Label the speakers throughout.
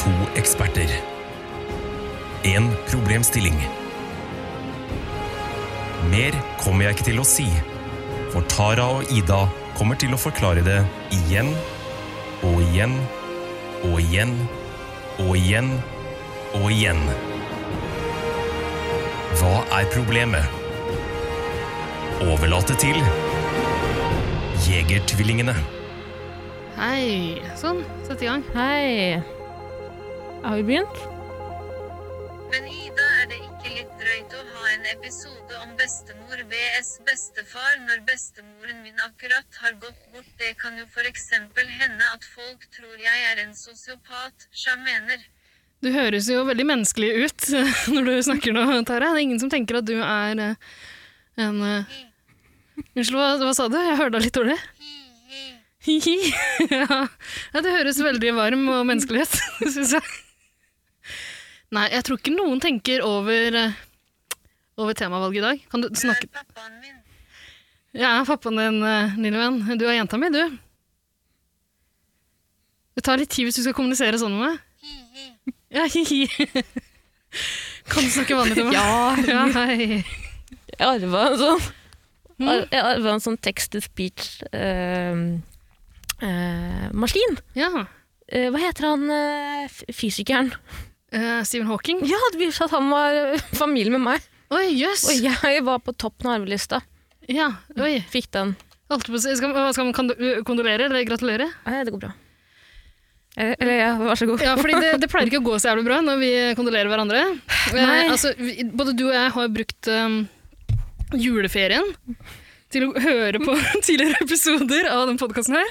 Speaker 1: To eksperter. En problemstilling. Mer kommer jeg ikke til å si, for Tara og Ida kommer til å forklare det igjen og igjen og igjen og igjen og igjen. Hva er problemet? Overlate til Jegertvillingene.
Speaker 2: Hei. Sånn, sett i gang.
Speaker 3: Hei. Har vi begynt?
Speaker 4: Men Ida, er det ikke litt drøyt å ha en episode om bestemor vs bestefar når bestemoren min akkurat har gått bort? Det kan jo for eksempel hende at folk tror jeg er en sosiopat, sjamener.
Speaker 2: Du høres jo veldig menneskelig ut når du snakker nå, Tara. Det er ingen som tenker at du er eh, en eh, Unnskyld, hva, hva sa du? Jeg hørte deg litt dårlig.
Speaker 4: Hi-hi.
Speaker 2: Hi-hi. ja. ja, det høres veldig varm og menneskelig ut, syns jeg. Nei, jeg tror ikke noen tenker over, eh, over temavalget i dag. Kan du
Speaker 4: Du
Speaker 2: snakke
Speaker 4: er pappaen min.
Speaker 2: Jeg er pappaen din, eh, lille venn. Du er jenta mi, du. Det tar litt tid hvis du skal kommunisere sånn med meg.
Speaker 4: Hi-hi.
Speaker 2: Ja, hi-hi. Kan du snakke vanlig til meg?
Speaker 3: Ja.
Speaker 2: ja hei.
Speaker 3: Jeg arva en sånn,
Speaker 2: Mm.
Speaker 3: ar jeg arva en sånn text-to-speech-maskin.
Speaker 2: ja.
Speaker 3: eh, hva heter han eh, f- fysikeren?
Speaker 2: Eh, Stephen Hawking.
Speaker 3: Ja, det viser seg at han var eh, familie med meg.
Speaker 2: Oi, jøss.
Speaker 3: Og jeg var på toppen av arvelista.
Speaker 2: Ja, oi.
Speaker 3: Fikk den.
Speaker 2: Alt på, å si- skal, hva skal man kond- kondolere eller gratulere?
Speaker 3: Nei, det går bra. Eller, eller ja, vær så god.
Speaker 2: Ja, fordi det, det pleier ikke å gå så jævlig bra når vi kondolerer hverandre.
Speaker 3: Nei.
Speaker 2: Eh, altså, vi, både du og jeg har brukt um, juleferien til å høre på tidligere episoder av den podkasten her.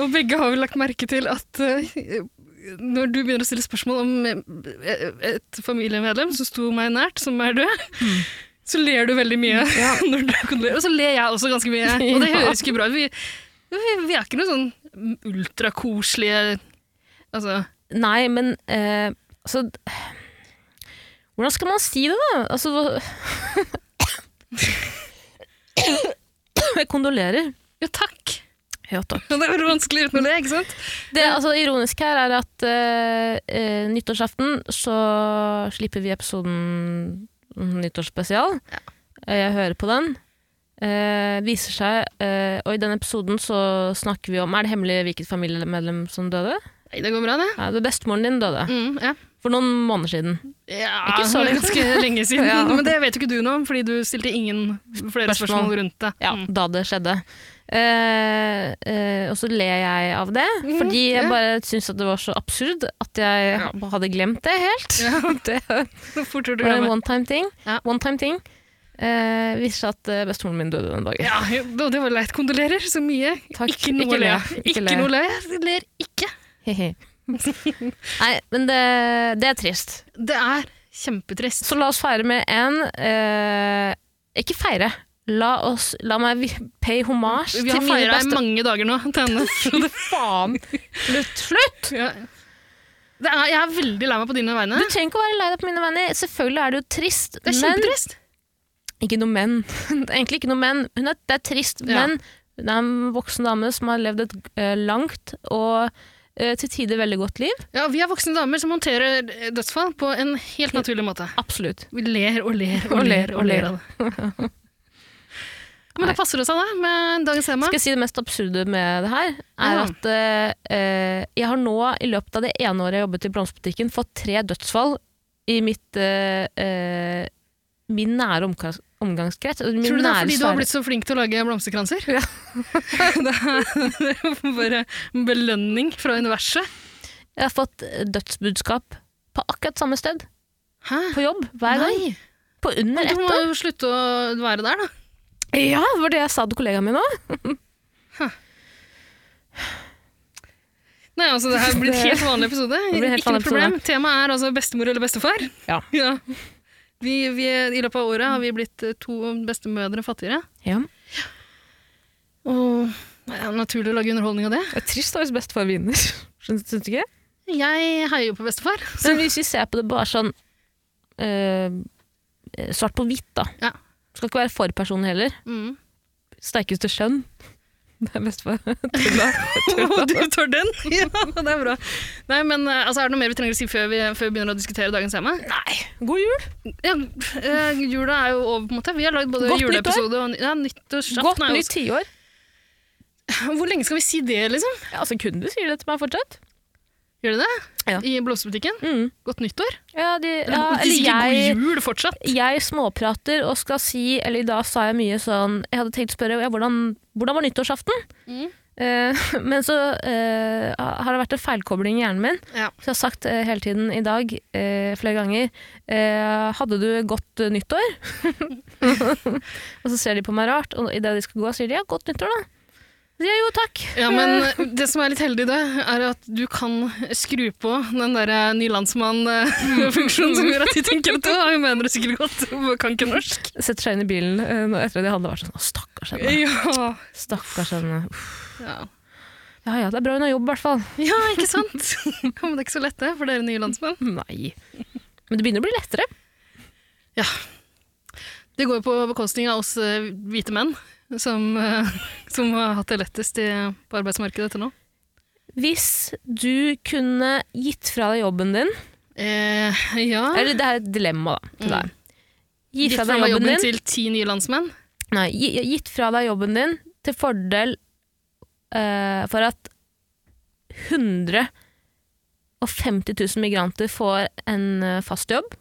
Speaker 2: Og begge har vi lagt merke til at eh, når du begynner å stille spørsmål om eh, et familiemedlem som sto meg nært, som er død, så ler du veldig mye. når du kondolerer. Og så ler jeg også ganske mye. Og det
Speaker 3: Ja.
Speaker 2: høres ikke bra ut. Vi, vi, vi er ikke noe sånn ultrakoselige Altså
Speaker 3: Nei, men eh, altså d- Hvordan skal man si det, da? Altså hva- Jeg kondolerer.
Speaker 2: Ja, takk!
Speaker 3: Ja, takk.
Speaker 2: Det er veldig vanskelig uten å le, ikke sant?
Speaker 3: Det altså, det ironiske her er at eh, eh, nyttårsaften så slipper vi episoden mm, nyttårsspesial. Eh, Jeg hører på den. Eh, viser seg, eh, og i den episoden så snakker vi om Er det hemmelig hvilket familiemedlem som døde?
Speaker 2: Nei, det går bra, det.
Speaker 3: Nei, det er bestemoren din døde.
Speaker 2: Mm, ja.
Speaker 3: For noen måneder siden.
Speaker 2: ja,
Speaker 3: Ikke så
Speaker 2: det er
Speaker 3: lenge.
Speaker 2: ganske lenge siden.
Speaker 3: Ja.
Speaker 2: Men det vet jo ikke du noe om, fordi du stilte ingen flere
Speaker 3: Spørsmål.
Speaker 2: spørsmål rundt det.
Speaker 3: Ja,
Speaker 2: Mm.
Speaker 3: da det skjedde. Eh, eh, og så ler jeg av det,
Speaker 2: Mm,
Speaker 3: fordi jeg
Speaker 2: ja.
Speaker 3: bare syns at det var så absurd at jeg ha- hadde glemt det helt. det var
Speaker 2: Så fort gjorde du
Speaker 3: en
Speaker 2: det.
Speaker 3: one time ting.
Speaker 2: Ja.
Speaker 3: One time ting. Eh, viser seg at eh, bestemoren min døde den dagen.
Speaker 2: Ja, og det var leit. Kondolerer så mye.
Speaker 3: Takk.
Speaker 2: Ikke noe
Speaker 3: Ikke
Speaker 2: å le.
Speaker 3: le.
Speaker 2: av.
Speaker 3: Ikke
Speaker 2: Ikke
Speaker 3: le.
Speaker 2: noe å le. av. Jeg ler ikke.
Speaker 3: Hehe. Nei, men det, det er trist.
Speaker 2: Det er kjempetrist.
Speaker 3: Så la oss feire med en eh, Ikke feire. La, oss, la meg vi- pay homage
Speaker 2: Vi
Speaker 3: til
Speaker 2: har
Speaker 3: mine
Speaker 2: feira i
Speaker 3: beste...
Speaker 2: mange dager nå til henne. Så det,
Speaker 3: Faen! Slutt! Slutt!
Speaker 2: ja. det er, jeg er veldig lei meg på dine vegne.
Speaker 3: Du trenger ikke å være lei deg på mine venner. Selvfølgelig er det jo trist,
Speaker 2: Det er
Speaker 3: men
Speaker 2: kjempetrist.
Speaker 3: Ikke noe men. Det er Egentlig ikke noe men. Hun er, det er trist,
Speaker 2: Ja.
Speaker 3: men hun er en voksen dame som har levd et eh, langt og eh, til tider veldig godt liv.
Speaker 2: Ja, vi er voksne damer som håndterer eh, dødsfall på en helt naturlig måte.
Speaker 3: Absolutt.
Speaker 2: Vi ler og ler og
Speaker 3: Og
Speaker 2: ler og ler av det. Men det passer oss an, da, med dagens tema.
Speaker 3: Skal jeg si det mest absurde med det her, er
Speaker 2: Ja.
Speaker 3: at eh, eh, jeg har nå i løpet av det ene året jeg har jobbet i blomsterbutikken, fått tre dødsfall i mitt eh, eh, min nære omka- omgangskrets. Altså, Min
Speaker 2: Tror du det er
Speaker 3: nære
Speaker 2: fordi du har
Speaker 3: sfære.
Speaker 2: blitt så flink til å lage blomsterkranser? det er jo bare en belønning fra universet.
Speaker 3: Jeg har fått eh, dødsbudskap på akkurat samme sted,
Speaker 2: Hæ?
Speaker 3: på jobb, hver gang.
Speaker 2: Nei.
Speaker 3: På under
Speaker 2: Du
Speaker 3: ett
Speaker 2: må
Speaker 3: år.
Speaker 2: jo slutte å være der, da.
Speaker 3: Ja, det var det jeg sa til kollegaen min òg.
Speaker 2: Nei, altså, det her blir en
Speaker 3: Det-
Speaker 2: helt vanlig episode.
Speaker 3: Det blir helt
Speaker 2: Ikke
Speaker 3: vanlig
Speaker 2: noe problem. Temaet er altså bestemor eller bestefar.
Speaker 3: Ja.
Speaker 2: Vi, vi, I løpet av året har vi blitt eh, to bestemødre fattigere.
Speaker 3: Ja.
Speaker 2: Og det er naturlig å lage underholdning av det.
Speaker 3: Det er trist da hvis bestefar vinner. Syns syns du ikke?
Speaker 2: Jeg heier jo på bestefar. Så
Speaker 3: Men hvis vi ser på det bare sånn eh, svart på hvitt, da.
Speaker 2: Ja.
Speaker 3: Skal ikke være for personen heller.
Speaker 2: Mm.
Speaker 3: Sterkeste skjønn. Det er bestefar. Tulla.
Speaker 2: Og du tar den? Ja, det er bra. Nei, men eh, altså, Er det noe mer vi trenger å si før vi, før vi begynner å diskutere dagens tema?
Speaker 3: Nei, god jul!
Speaker 2: Ja, eh, jula er jo over, på en måte. Vi har lagd både
Speaker 3: Godt
Speaker 2: juleepisode og ny- ja, nyttårsaften.
Speaker 3: Godt
Speaker 2: er jo
Speaker 3: nytt tiår.
Speaker 2: også- Hvor lenge skal vi si det, liksom?
Speaker 3: Ja, altså, kunden sier det til meg fortsatt.
Speaker 2: Gjør de det?
Speaker 3: Ja.
Speaker 2: I blomsterbutikken?
Speaker 3: Mm.
Speaker 2: Godt nyttår?
Speaker 3: Ja, de, ja,
Speaker 2: de
Speaker 3: eller
Speaker 2: sier ikke
Speaker 3: jeg,
Speaker 2: god jul fortsatt.
Speaker 3: jeg småprater og skal si Eller i dag sa jeg mye sånn Jeg hadde tenkt å spørre ja, hvordan, hvordan var nyttårsaften?
Speaker 2: Mm.
Speaker 3: Eh, men så eh, har det vært en feilkobling i hjernen min.
Speaker 2: Ja.
Speaker 3: Så jeg har sagt eh, hele tiden i dag eh, flere ganger eh, Hadde du godt eh, nyttår? og så ser de på meg rart, og idet de skal gå, sier de ja, godt nyttår, da. Så sier jeg jo takk.
Speaker 2: Ja, men eh, det som er litt heldig da, er at du kan skru på den der nylandsmann-funksjonen som gjør at de tenker at «Å, hun mener det sikkert godt, hun kan ikke norsk.
Speaker 3: Setter seg inn i bilen eh, nå etter at de hadde vært sånn Å, stakkars henne.
Speaker 2: Ja.
Speaker 3: Stakkars henne. Uff.
Speaker 2: Ja.
Speaker 3: Ja ja, det er bra hun har jobb, i hvert fall.
Speaker 2: ja, ikke sant? Ja, Men det er ikke så lett det for dere nye landsmenn.
Speaker 3: Nei. Men det begynner å bli lettere.
Speaker 2: Det går jo på bekostning av oss eh, hvite menn, som, eh, som har hatt det lettest i, på arbeidsmarkedet til nå.
Speaker 3: Hvis du kunne gitt fra deg jobben din
Speaker 2: Eh, ja,
Speaker 3: Eller det er et dilemma, da. Til
Speaker 2: Mm.
Speaker 3: deg. Gi
Speaker 2: gitt
Speaker 3: fra
Speaker 2: fra
Speaker 3: deg jobben din
Speaker 2: til ti nye landsmenn.
Speaker 3: Nei, gi- gitt fra deg jobben din til fordel eh, for at 150 000 migranter får en eh, fast jobb.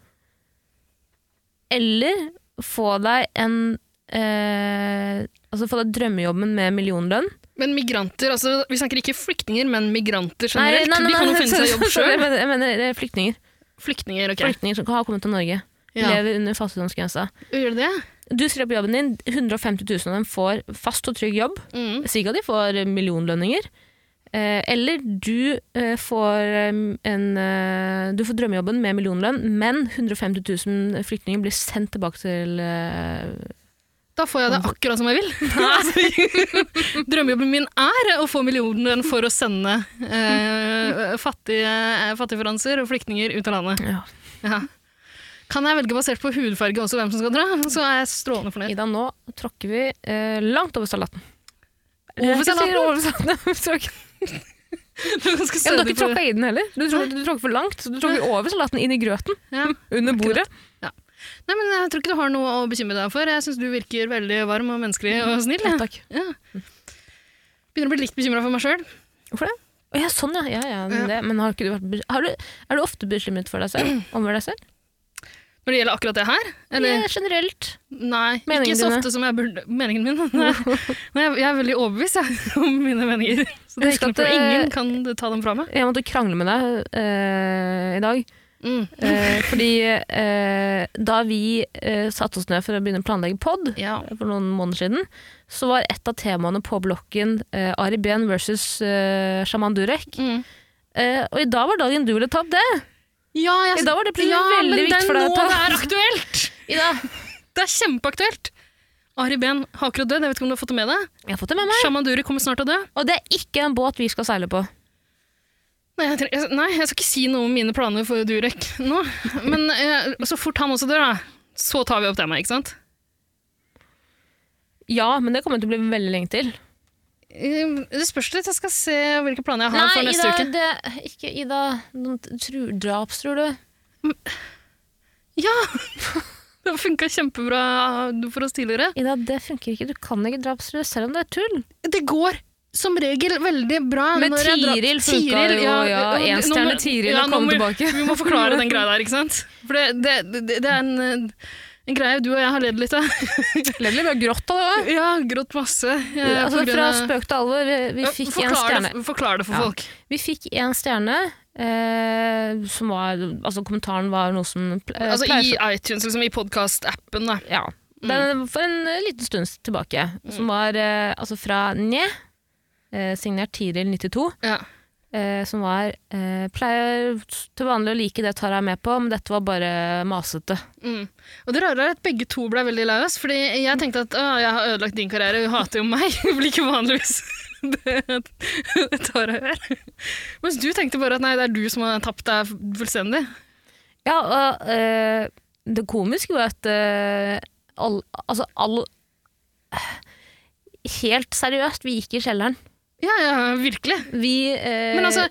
Speaker 3: Eller få deg en eh, Altså få deg drømmejobben med millionlønn.
Speaker 2: Men migranter, altså vi snakker ikke flyktninger, men migranter
Speaker 3: Nei,
Speaker 2: generelt.
Speaker 3: nei, nei,
Speaker 2: De kan jo
Speaker 3: nei,
Speaker 2: finne seg jobb
Speaker 3: sorry, Jeg
Speaker 2: selv.
Speaker 3: mener, jeg mener eh, flyktninger.
Speaker 2: Flyktninger, ok.
Speaker 3: Flyktninger som har kommet til Norge.
Speaker 2: Ja.
Speaker 3: Lever under fattigdomsgrensa.
Speaker 2: Gjør det det?
Speaker 3: Du stiller på jobben din, 150 000 av dem får fast og trygg jobb.
Speaker 2: Mm.
Speaker 3: Sikkert de får millionlønninger. Eh, eller du eh, får eh, en eh, Du får drømmejobben med millionlønn, men 150 000 flyktninger blir sendt tilbake til eh,
Speaker 2: Da får jeg det akkurat som jeg vil. Altså, Drømmejobben min er å få millionen for å sende eh, fattige, fattigfranser og flyktninger ut av landet.
Speaker 3: ja.
Speaker 2: Ja. Kan jeg velge basert på hudfarge også hvem som skal dra, så er jeg strålende fornøyd.
Speaker 3: Ida, nå tråkker vi eh, langt over salaten.
Speaker 2: Over
Speaker 3: Jeg sier
Speaker 2: salaten?
Speaker 3: Over salaten. Vi tråkker-
Speaker 2: Du er ganske
Speaker 3: ja, men du har
Speaker 2: stødig
Speaker 3: ikke
Speaker 2: på
Speaker 3: tråkka i den heller. Du tråkker, du tråkker for langt. så Du tråkker over salaten, inn i grøten.
Speaker 2: Ja.
Speaker 3: Under bordet.
Speaker 2: Nei, men jeg tror ikke du har noe å bekymre deg for. Jeg syns du virker veldig varm og menneskelig og snill.
Speaker 3: Ja,
Speaker 2: jeg.
Speaker 3: takk.
Speaker 2: Ja. Begynner å bli litt bekymra for meg sjøl.
Speaker 3: Hvorfor det? Å, ja, sånn, ja. ja, ja, men Det. Men har ikke du vært, be- har du, er du ofte bekymret for deg selv? Over deg selv?
Speaker 2: Når det gjelder akkurat det her. Eller
Speaker 3: Ja, generelt.
Speaker 2: Nei,
Speaker 3: Meningene
Speaker 2: ikke så
Speaker 3: dine.
Speaker 2: ofte som jeg burde Meningen min? Nei, Nei, jeg, jeg er veldig overbevist jeg, om mine meninger. Så det er
Speaker 3: Husk
Speaker 2: ikke noe
Speaker 3: at,
Speaker 2: problem.
Speaker 3: eh,
Speaker 2: Ingen kan ta dem fra meg.
Speaker 3: Jeg måtte krangle med deg eh, i dag.
Speaker 2: Mm.
Speaker 3: Eh, fordi eh, da vi eh, satte oss ned for å begynne å planlegge pod
Speaker 2: Ja.
Speaker 3: for noen måneder siden, så var et av temaene på blokken eh, Ari Behn versus eh, Shaman Durek.
Speaker 2: Mm.
Speaker 3: Eh, og i dag var dagen du ville ta opp det.
Speaker 2: Ja, jeg,
Speaker 3: I dag var det plutselig
Speaker 2: ja,
Speaker 3: veldig
Speaker 2: men
Speaker 3: viktig for deg å
Speaker 2: Det er
Speaker 3: ta.
Speaker 2: nå det er aktuelt!
Speaker 3: Ida.
Speaker 2: Det er kjempeaktuelt! Ari Behn har akkurat dødd. Jeg vet ikke om du har fått det med deg?
Speaker 3: Jeg har fått det med meg.
Speaker 2: Shaman Durek kommer snart til å dø.
Speaker 3: Og det er ikke en båt vi skal seile på.
Speaker 2: Nei jeg, tre- jeg, nei, jeg skal ikke si noe om mine planer for Durek nå. Men eh, så fort han også dør, da, så tar vi opp temaet, ikke sant?
Speaker 3: Ja, men det kommer til å bli veldig lenge til.
Speaker 2: Eh, Det spørs litt. Jeg skal se hvilke planer jeg har for neste uke.
Speaker 3: det, ikke Ida. Drapstrur du.
Speaker 2: Ja! Det har funka kjempebra for oss tidligere.
Speaker 3: Ida, det funker ikke. Du kan ikke drapstrue selv om det er tull.
Speaker 2: Det går som regel veldig bra.
Speaker 3: Med
Speaker 2: når jeg drar-
Speaker 3: Tiril funka det jo, ja,
Speaker 2: nå må-
Speaker 3: enstjerne Tiril
Speaker 2: ja,
Speaker 3: har
Speaker 2: nå
Speaker 3: kommet
Speaker 2: må-
Speaker 3: tilbake.
Speaker 2: Vi må forklare den greia der, ikke sant? For det, det, det, det er en, eh, en greie du og jeg har ledd litt av.
Speaker 3: Ledd litt, vi har grått av det òg.
Speaker 2: Ja, grått masse. eh,
Speaker 3: Altså,
Speaker 2: på grunn
Speaker 3: fra
Speaker 2: av-
Speaker 3: spøk til alvor, vi, vi
Speaker 2: Ja,
Speaker 3: fikk én
Speaker 2: forklar
Speaker 3: stjerne.
Speaker 2: det, forklar det for
Speaker 3: Ja.
Speaker 2: folk.
Speaker 3: Vi fikk én stjerne, eh, som var Altså, kommentaren var noe som pl- eh,
Speaker 2: Altså I
Speaker 3: pleier-
Speaker 2: Mm. iTunes, liksom i podkast-appen. da.
Speaker 3: Ja. Den, for en eh, liten stund tilbake.
Speaker 2: Mm.
Speaker 3: Som var eh, altså fra Nje, eh, signert Tiril92.
Speaker 2: Ja.
Speaker 3: eh, som var eh, Pleier til vanlig å like det Tara er med på, men dette var bare masete.
Speaker 2: Mm. Og det rare er at begge to ble veldig lei oss, fordi jeg tenkte at «Å, jeg har ødelagt din karriere, hun hater jo meg, hun blir ikke vanligvis det det tar jeg her. Mens du tenkte bare at nei, det er du som har tapt deg fullstendig.
Speaker 3: Ja, og eh, det komiske var at eh, all, altså all helt seriøst, vi gikk i kjelleren.
Speaker 2: Ja, ja, virkelig.
Speaker 3: Vi, eh,
Speaker 2: Men altså,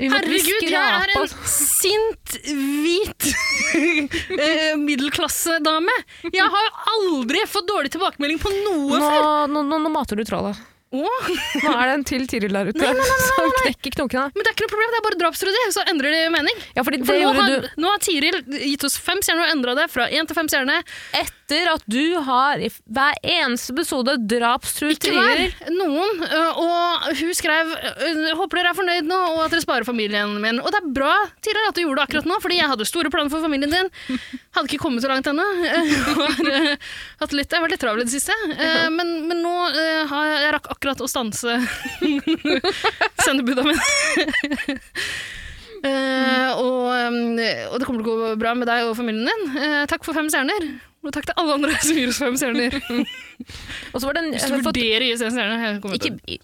Speaker 3: vi måtte
Speaker 2: herregud, jeg
Speaker 3: skrape
Speaker 2: er en
Speaker 3: oss.
Speaker 2: sint, hvit eh, middelklassedame. Jeg har jo aldri fått dårlig tilbakemelding på noe
Speaker 3: nå,
Speaker 2: før.
Speaker 3: nå, nå, nå mater du trollet.
Speaker 2: Åh,
Speaker 3: Nå er det en til Tiril der ute som knekker knokene.
Speaker 2: men det er ikke noe problem, det er bare drapsryddig, så endrer det mening.
Speaker 3: Ja, fordi det
Speaker 2: For nå
Speaker 3: gjorde
Speaker 2: har,
Speaker 3: du
Speaker 2: nå har Tiril gitt oss fem stjerner og endra det fra én til fem stjerner.
Speaker 3: etter at du har i f- hver eneste episode drapstru
Speaker 2: Ikke
Speaker 3: Tiril.
Speaker 2: hver, noen. øh, Og hun skrev øh, håper dere er fornøyd nå, og at dere sparer familien min. Og det er bra Tiril, at du gjorde det akkurat nå, fordi jeg hadde store planer for familien din. Hadde ikke kommet så langt ennå. Jeg har, øh, hatt litt- jeg har vært litt travel i det siste. Eh, Men, men nå øh, har jeg, jeg rakk akkurat å stanse sendebuda min. Eh, og, øhm, og det kommer til å gå bra med deg og familien din. Eh, takk for fem stjerner. Og takk til alle andre som gir oss fem stjerner.
Speaker 3: Og så var det en,
Speaker 2: Hvis
Speaker 3: jeg
Speaker 2: du
Speaker 3: har fått,
Speaker 2: vurderer å gi seg en stjerne jeg kommer til
Speaker 3: ikke,
Speaker 2: å-
Speaker 3: i- i-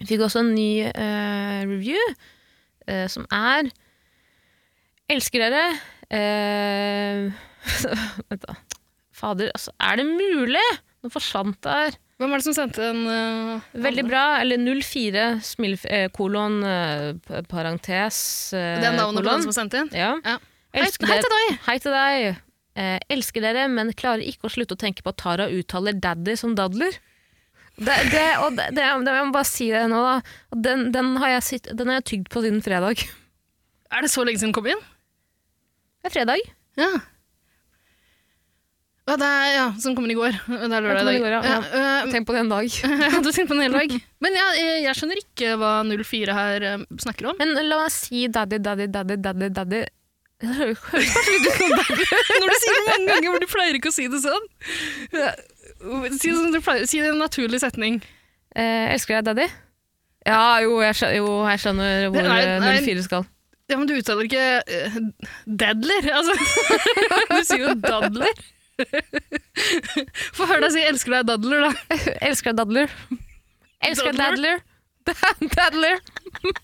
Speaker 3: Vi fikk også en ny eh, review, eh, som er Elsker dere. eh, Vent, da. Fader, altså, er det mulig? Nå forsvant det her.
Speaker 2: Hvem er det som sendte en øh,
Speaker 3: Veldig
Speaker 2: andre?
Speaker 3: bra. Eller 04 smilf, eh, kolon eh, p- parentes eh,
Speaker 2: Det er navnet på
Speaker 3: kolon.
Speaker 2: den som sendte inn?
Speaker 3: Ja.
Speaker 2: Ja. Hei,
Speaker 3: Elsker
Speaker 2: hei
Speaker 3: dere-
Speaker 2: til deg!
Speaker 3: Hei til deg. Eh, elsker dere, men klarer ikke å slutte å tenke på at Tara uttaler 'daddy' som 'dadler'. Det, det, og det, det, det, jeg må bare si det nå, da. Og Den, den, har jeg sitt, den har jeg tygd på siden fredag.
Speaker 2: Er det så lenge siden den kom inn?
Speaker 3: Det er fredag.
Speaker 2: Ja. Ja, det er, ja, som kom inn i går. Det er lørdag i dag.
Speaker 3: Den kom i går, ja.
Speaker 2: Ja, øh,
Speaker 3: Tenk på det en dag.
Speaker 2: jeg hadde tenkt på den hele dag. Men ja, eh, jeg, jeg skjønner ikke hva 04 her øh, snakker om.
Speaker 3: Men la meg si 'daddy, daddy, daddy, daddy'. daddy. Det hø- høres kanskje litt ut som
Speaker 2: Når du sier det mange ganger, hvor du pleier ikke å si det sånn. Ja, Si det, som du pleier, si det i en naturlig setning.
Speaker 3: Eh, elsker deg, daddy? Ja, jo, jeg skjønner, jo, jeg skjønner hvor
Speaker 2: Det er-
Speaker 3: eh,
Speaker 2: nei.
Speaker 3: 04 skal.
Speaker 2: Ja, Men du uttaler ikke øh, dadler. Altså, du sier jo dadler. Få høre deg si 'elsker deg, dadler', da.
Speaker 3: elsker deg, dadler. Elsker deg, dadler.
Speaker 2: Dadler?
Speaker 3: dadler.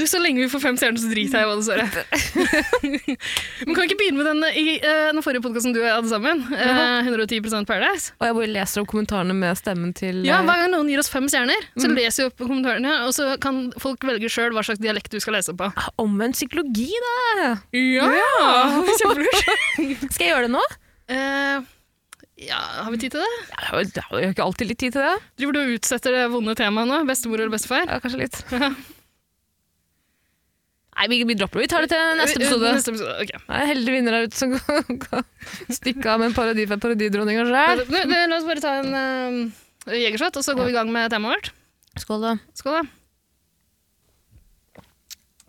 Speaker 2: Du, Så lenge vi får fem stjerner, så driter jeg i hva det står. jeg. Men kan vi ikke begynne med den i eh, den forrige podkasten du hadde sammen? eh, 110 Paradise?
Speaker 3: Og jeg bare leser opp kommentarene med stemmen til
Speaker 2: Ja, Mm.
Speaker 3: eh,
Speaker 2: Hver gang noen gir oss fem stjerner, så leser vi opp kommentarene, og så kan folk velge sjøl hva slags dialekt du skal lese på.
Speaker 3: Omvendt psykologi, da!
Speaker 2: Ja! Kjempelurt.
Speaker 3: Skal jeg gjøre det nå?
Speaker 2: Eh, ja, har vi tid til det?
Speaker 3: Jeg har jo- jeg har jo ikke alltid litt tid til det.
Speaker 2: Driver du og utsetter det vonde temaet nå? Bestemor eller bestefar?
Speaker 3: Ja, kanskje litt.
Speaker 2: Ja.
Speaker 3: Nei, vi, vi dropper det. Vi tar det til neste episode.
Speaker 2: Neste episode, ok.
Speaker 3: Det er en heldig vinner der ute som kan kan stikke av med en parodi for parodidronninga sjøl.
Speaker 2: Nå, nå, La oss bare ta en uh, jegershot, og så går vi i gang med temaet vårt.
Speaker 3: Skål, da.
Speaker 2: Skål, da.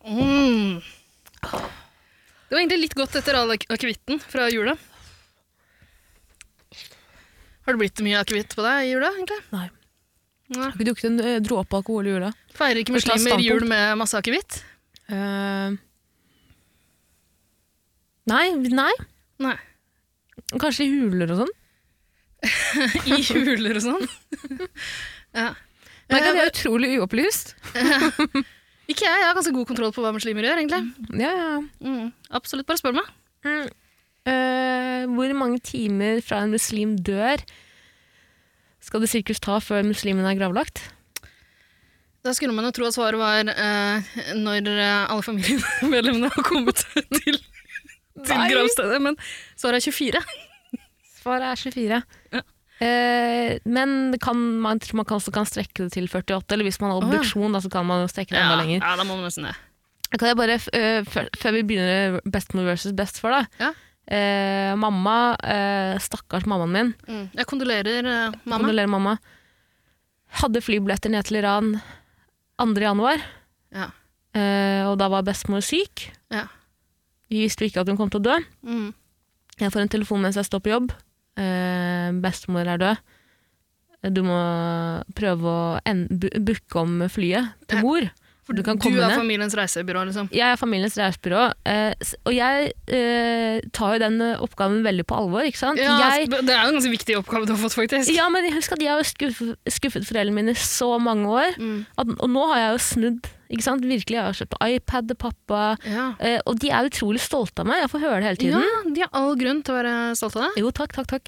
Speaker 2: Mm. Det var egentlig litt godt etter all ak- akevitten fra jula. Har det blitt mye akevitt på deg i jula? egentlig?
Speaker 3: Nei.
Speaker 2: Nei.
Speaker 3: Har ikke drukket en eh, dråpe alkohol i jula.
Speaker 2: Feirer ikke
Speaker 3: Først ta
Speaker 2: muslimer
Speaker 3: standpunkt.
Speaker 2: jul med masse akevitt?
Speaker 3: Eh, nei, nei.
Speaker 2: Nei.
Speaker 3: Kanskje i huler og sånn.
Speaker 2: I juler og sånn? ja.
Speaker 3: Merk at jeg
Speaker 2: Eh,
Speaker 3: er utrolig uopplyst.
Speaker 2: ikke jeg. Jeg har ganske god kontroll på hva muslimer gjør. egentlig.
Speaker 3: Ja, ja.
Speaker 2: Mm. Absolutt, bare spør meg.
Speaker 3: Mm. Eh, hvor mange timer fra en muslim dør skal det sirkus ta før muslimen er gravlagt?
Speaker 2: Da skulle man jo tro at svaret var eh, når eh, alle familiemedlemmene har kommet til, til
Speaker 3: Nei.
Speaker 2: gravstedet, men svaret er 24.
Speaker 3: Svaret er 24.
Speaker 2: Ja.
Speaker 3: Eh, men det kan, man, tror man kan, også kan strekke det til 48, eller hvis man har
Speaker 2: ja.
Speaker 3: obduksjon, da, så kan man jo strekke det enda lenger.
Speaker 2: ja, da må man nesten det.
Speaker 3: Kan jeg bare, f- eh, før, før vi begynner bestemor versus bestefar, da.
Speaker 2: Ja.
Speaker 3: Eh, mamma, eh, stakkars mammaen min,
Speaker 2: Mm. Jeg kondolerer eh, mamma.
Speaker 3: kondolerer mamma, hadde flybilletter ned til Iran 2. januar,
Speaker 2: Ja.
Speaker 3: eh, og da var bestemor syk.
Speaker 2: Ja.
Speaker 3: Vi visste jo ikke at hun kom til å dø.
Speaker 2: Mm.
Speaker 3: Jeg får en telefon mens jeg står på jobb. Eh, bestemor er død. Du må prøve å en- bu- booke om flyet til
Speaker 2: Ja.
Speaker 3: mor. For du kan komme
Speaker 2: er
Speaker 3: ned.
Speaker 2: familiens reisebyrå, liksom.
Speaker 3: Jeg er familiens reisebyrå, eh, s- og jeg eh, tar jo den eh, oppgaven veldig på alvor, ikke sant?
Speaker 2: Ja, altså,
Speaker 3: jeg,
Speaker 2: det er jo en ganske viktig oppgave du har fått, faktisk.
Speaker 3: ja, men husk at jeg har skuffet, skuffet foreldrene mine så mange år,
Speaker 2: Mm.
Speaker 3: at, og nå har jeg jo snudd, ikke sant? Virkelig, jeg har kjøpt iPad til pappa,
Speaker 2: Ja.
Speaker 3: eh, og de er utrolig stolte av meg, jeg får høre det hele tiden.
Speaker 2: ja, de har all grunn til å være stolte av deg.
Speaker 3: Jo, takk, takk, takk.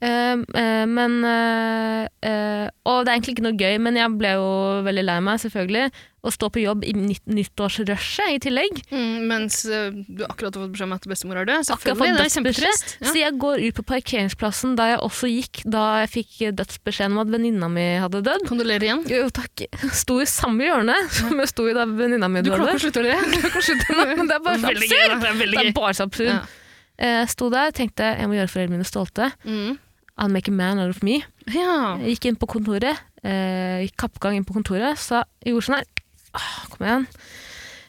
Speaker 3: Eh, eh, men eh, eh, Og det er egentlig ikke noe gøy, men jeg ble jo veldig lei meg, selvfølgelig. Å stå på jobb i nytt, nyttårsrushet i tillegg.
Speaker 2: Mm, mens eh, du akkurat har fått beskjed om at bestemor er død. Selvfølgelig,
Speaker 3: Akkurat fått
Speaker 2: det er kjempetrist.
Speaker 3: dødsbeskjed. Så jeg går ut på parkeringsplassen da jeg også gikk da jeg fikk eh, dødsbeskjeden om at venninna mi hadde dødd.
Speaker 2: Kondolerer igjen.
Speaker 3: Jo, takk. Sto i samme hjørne som jeg sto i da venninna mi
Speaker 2: Du
Speaker 3: døde.
Speaker 2: klokka slutter det. Klokka slutter
Speaker 3: Nei, men det er bare så
Speaker 2: Veldig gøy, da. Det er veldig
Speaker 3: Det
Speaker 2: gøy.
Speaker 3: er bare så absurd.
Speaker 2: Ja.
Speaker 3: Eh, sto der, tenkte jeg må gjøre foreldrene mine stolte.
Speaker 2: Mm.
Speaker 3: I'll make a man out of me.
Speaker 2: ja.
Speaker 3: Jeg gikk inn på kontoret, eh, gikk kappgang inn på kontoret, sa gjorde sånn her. Åh, kom igjen.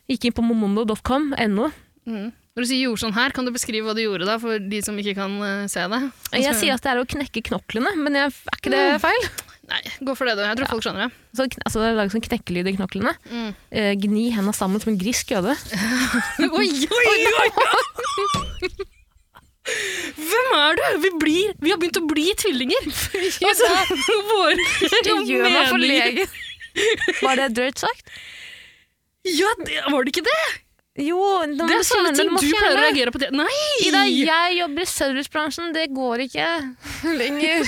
Speaker 3: Gikk inn på momondo.com, .no.
Speaker 2: Mm. Når du sier gjorde sånn her, kan du beskrive hva du gjorde da, for de som ikke kan eh, se det?
Speaker 3: Jeg sier at det er å knekke knoklene, men jeg, er
Speaker 2: Mm.
Speaker 3: ikke det feil?
Speaker 2: Nei, gå for det, du. Jeg tror folk skjønner det.
Speaker 3: Så, kn- altså, Lag sånn knekkelyd i knoklene.
Speaker 2: Mm.
Speaker 3: Eh, gni henda sammen som en grisk jøde.
Speaker 2: Oi, oi, oi! Hvem er du? Vi, blir, vi har begynt å bli tvillinger! Altså, våre meninger-
Speaker 3: Var det drøyt sagt?
Speaker 2: Ja, det, var det ikke det?
Speaker 3: Jo, det,
Speaker 2: Det er sånne ting du pleier å reagere på. Det. Nei!
Speaker 3: Ida, jeg jobber i servicebransjen, det går ikke lenger.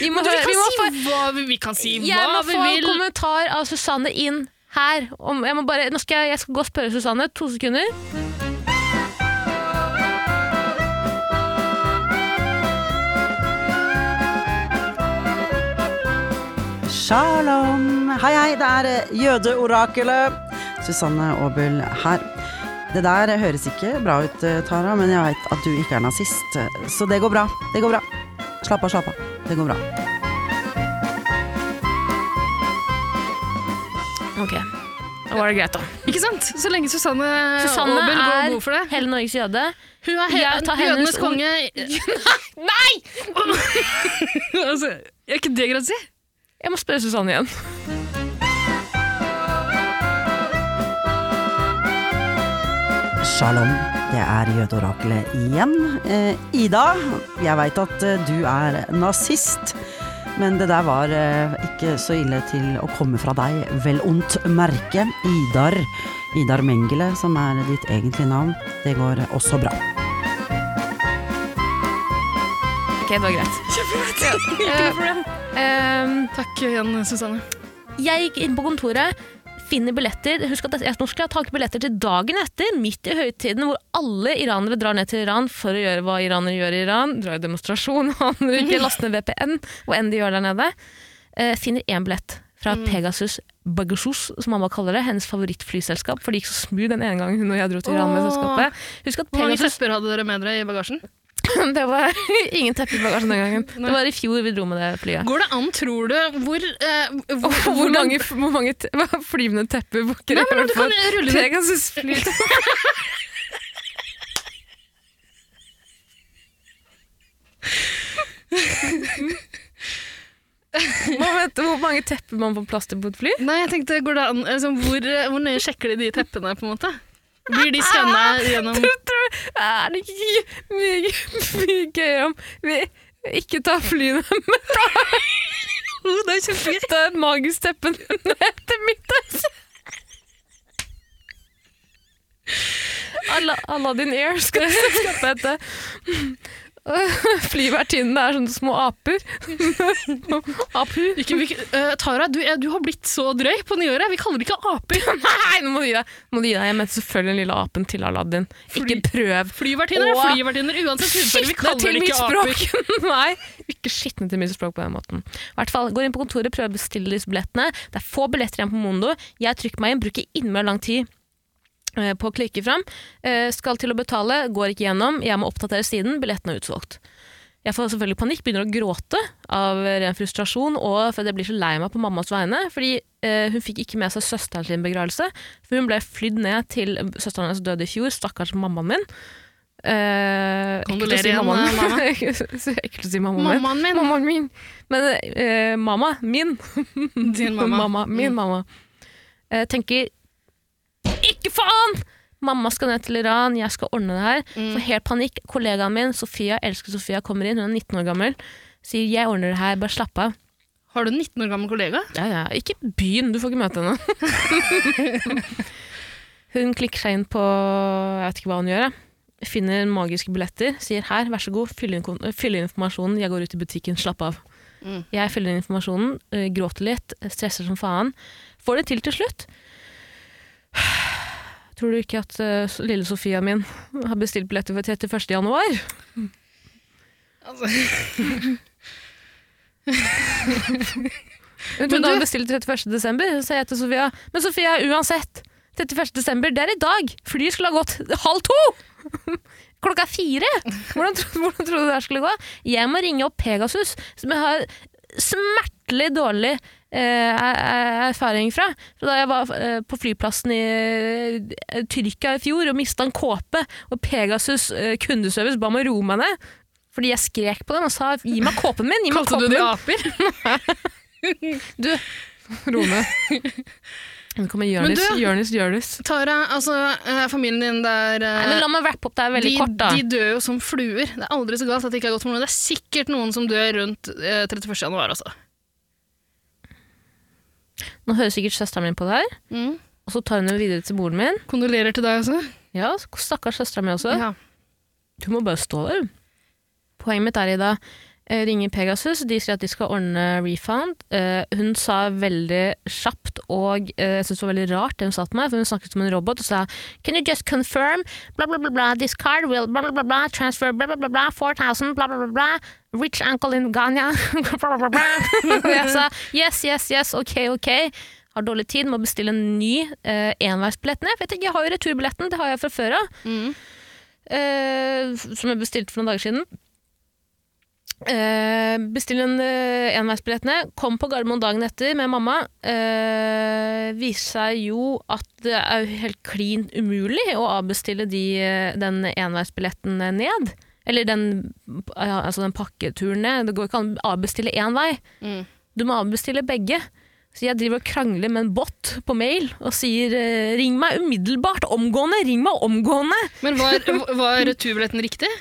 Speaker 3: Vi må,
Speaker 2: Men vi,
Speaker 3: høre-
Speaker 2: kan
Speaker 3: vi må
Speaker 2: si
Speaker 3: få,
Speaker 2: hva vi, vi kan si
Speaker 3: jeg
Speaker 2: hva
Speaker 3: må
Speaker 2: vi
Speaker 3: få
Speaker 2: vil.
Speaker 3: kommentar av Susanne inn her. Om, jeg, må bare, nå skal jeg, jeg skal gå og spørre Susanne. To sekunder.
Speaker 5: Shalom! Hei, hei, det er eh, jødeorakelet. Susanne Aabel her. Det der høres ikke bra ut, eh, Tara, men jeg veit at du ikke er nazist. eh, Så det går bra. Det går bra. Slapp av, slapp av. Det går bra.
Speaker 3: Ok, Da var det greit, da.
Speaker 2: Ikke sant? Så lenge Susanne,
Speaker 3: Susanne
Speaker 2: Eh, Aabel går god for
Speaker 3: er
Speaker 2: det.
Speaker 3: hele Norges jøde.
Speaker 2: Hun er
Speaker 3: jeg
Speaker 2: he
Speaker 3: tar hennes
Speaker 2: jødenes
Speaker 3: ord.
Speaker 2: konge. Nei! altså, er ikke det greit å si?
Speaker 3: Jeg må spørre Susanne igjen.
Speaker 5: Shalom. Det er jødeorakelet igjen. Eh, Ida, jeg veit at eh, du er nazist, men det der var eh, ikke så ille til å komme fra deg. Vel ondt merke. Idar. Idar Mengele, som er ditt egentlige navn. Det går også bra.
Speaker 3: Ok, det var greit.
Speaker 2: Eh,
Speaker 3: Ehm,
Speaker 2: Takk igjen, Susanne.
Speaker 3: Jeg gikk inn på kontoret, finner billetter. Husk at jeg, nå skal jeg ta ikke billetter til dagen etter, midt i høytiden, hvor alle iranere drar ned til Iran for å gjøre hva iranere gjør i Iran. Dra i demonstrasjon, andre ikke laste ned VPN, hva enn de gjør der nede. Eh, finner én billett fra
Speaker 2: Mm.
Speaker 3: Pegasus Bagasus, som mamma kaller det, hennes favorittflyselskap, for det gikk så smooth den ene gangen hun og jeg dro til Iran med
Speaker 2: Åh.
Speaker 3: selskapet. Husk at
Speaker 2: Hvor mange
Speaker 3: Pegasus
Speaker 2: tepper hadde dere med dere i bagasjen?
Speaker 3: Det var ingen teppe i bagasjen den gangen.
Speaker 2: Nei.
Speaker 3: Det var i fjor vi dro med det flyet.
Speaker 2: Går det an, tror du, hvor, eh, hvor,
Speaker 3: Hvor, hvor mange, hvor mange te flyvende tepper bukker
Speaker 2: Nei, men du kan rulle ned
Speaker 3: Pegasus fly Man vet hvor mange tepper man får plass til på et fly.
Speaker 2: Nei, jeg tenkte, går det an, altså, hvor, eh, hvor nøye sjekker de de teppene, på en måte? Blir de skanna gjennom
Speaker 3: Er det ikke mye, mye gøyere om vi ikke tar flyene, men
Speaker 2: Det er kjempegøy.
Speaker 3: tar et magisk teppe ned til Midtøsten? Ala- Aladdin Air skal selskapet hete. Flyvertinnene er sånne små aper. Apu.
Speaker 2: Ikke, vi, eh, Tara, du, eh, du har blitt så drøy på nyåret. Vi kaller det ikke aper.
Speaker 3: Nei, nå må du gi deg. Nå Må du gi deg. Jeg mente selvfølgelig den lille apen til Aladdin.
Speaker 2: Fly-
Speaker 3: Ikke prøv.
Speaker 2: Flyvertinner er
Speaker 3: Åh.
Speaker 2: flyvertinner uansett hudfarge. Vi
Speaker 3: Skitne
Speaker 2: kaller
Speaker 3: til
Speaker 2: det
Speaker 3: mitt
Speaker 2: ikke aper.
Speaker 3: språk! Nei, ikke skitne til mitt språk på den måten. I hvert fall, Går inn på kontoret, prøver å bestille disse billettene. Det er få billetter igjen på Mondo. Jeg trykker meg inn, bruker innmari lang tid eh, på å klikke fram. Eh, Skal til å betale, går ikke gjennom. Jeg må oppdatere siden. Billetten er utsolgt. Jeg får selvfølgelig panikk, begynner å gråte av ren frustrasjon, og fordi jeg blir så lei meg på mammas vegne, fordi eh, hun fikk ikke med seg søsteren sin begravelse, for hun ble flydd ned til søsteren hennes døde i fjor, stakkars mammaen min. Eh, ekkelt å
Speaker 2: Kondolerer
Speaker 3: si
Speaker 2: igjen,
Speaker 3: mammaen.
Speaker 2: eh, mamma.
Speaker 3: Så Ekkelt å si mammaen min.
Speaker 2: Mammaen min.
Speaker 3: Mammaen min. Men eh, mamma min.
Speaker 2: Din mamma. Mm.
Speaker 3: min mamma. Eh, tenker Ikke faen! Mamma skal ned til Iran, jeg skal ordne det her.
Speaker 2: Mm.
Speaker 3: Får helt panikk. Kollegaen min, Sofia, elsker Sofia, kommer inn, hun er 19 år gammel. Sier 'jeg ordner det her, bare slapp av'.
Speaker 2: Har du en 19 år gammel kollega?
Speaker 3: Ja, ja. Ikke byen, du får ikke møte henne. hun klikker seg inn på Jeg vet ikke hva hun gjør. jeg. finner magiske billetter, sier her, vær så god, fyll inn, kon- øh, fyll inn informasjonen, jeg går ut i butikken, slapp av.
Speaker 2: Mm.
Speaker 3: Jeg fyller inn informasjonen, øh, gråter litt, stresser som faen. Får det til til slutt. Tror du ikke at øh, lille Sofia min har bestilt billetter for 31. januar?
Speaker 2: Altså,
Speaker 3: Hun
Speaker 2: Men
Speaker 3: trodde
Speaker 2: du-
Speaker 3: hun bestilte 31. desember, så sa jeg til Sofia. Men Sofia, uansett, 31. desember, det er i dag. Flyet skulle ha gått halv to! Klokka er fire! Hvordan, tro- hvordan trodde du det her skulle gå? Jeg må ringe opp Pegasus, som jeg har smertelig dårlig eh, er- er- erfaring fra. For da jeg var eh, på flyplassen i eh, Tyrkia i fjor og mista en kåpe, og Pegasus eh, kundeservice ba meg roe meg ned, fordi jeg skrek på dem og sa 'gi meg kåpen min'. Gi meg
Speaker 2: kalte du
Speaker 3: kåpen
Speaker 2: de
Speaker 3: min.
Speaker 2: aper?
Speaker 3: Rone. Nå kommer
Speaker 2: Men
Speaker 3: Jonis,
Speaker 2: du-
Speaker 3: Jonis, Jonis.
Speaker 2: Tara, altså, eh, familien din der eh,
Speaker 3: Nei, men la meg wrap opp det her veldig
Speaker 2: de,
Speaker 3: kort, da.
Speaker 2: de dør jo som fluer. Det er aldri så galt at det ikke er godt for noen. Det er sikkert noen som dør rundt eh, 31. januar, altså.
Speaker 3: Nå hører sikkert søsteren min på det her,
Speaker 2: Mm.
Speaker 3: og så tar hun det videre til moren min.
Speaker 2: Kondolerer til deg også.
Speaker 3: Ja, så stakkars søsteren min også.
Speaker 2: Ja.
Speaker 3: Hun må bare stå der. Poenget mitt er i dag eh, ringe Pegasus, de sier at de skal ordne refund. Eh, hun sa veldig kjapt, og eh, jeg synes det var veldig rart det hun sa til meg, for hun snakket som en robot og sa Can you just confirm? Bla, bla, bla, bla. This card will bla, bla, bla, bla. Transfer bla, bla, bla, bla. 4000 bla, bla, bla, bla. Rich uncle in Ghana. bla, bla, bla, bla. Og jeg sa yes, yes, yes, ok, ok. Har dårlig tid, må bestille en ny eh, enveisbillett ned. For jeg tenker, jeg har jo returbilletten, det har jeg fra før av
Speaker 2: Mm.
Speaker 3: eh, som jeg bestilte for noen dager siden. Eh, Bestill en eh, enveisbillett ned. Kom på Gardermoen dagen etter med mamma. Eh, viser seg jo at det er jo helt klin umulig å avbestille de, eh, den enveisbilletten ned. Eller den, ja, altså den pakketuren ned. Det går ikke an å avbestille én vei.
Speaker 2: Mm.
Speaker 3: Du må avbestille begge. Så jeg driver og krangler med en bot på mail og sier eh, 'ring meg umiddelbart', omgående! Ring meg omgående!
Speaker 2: Men var, var returbilletten riktig?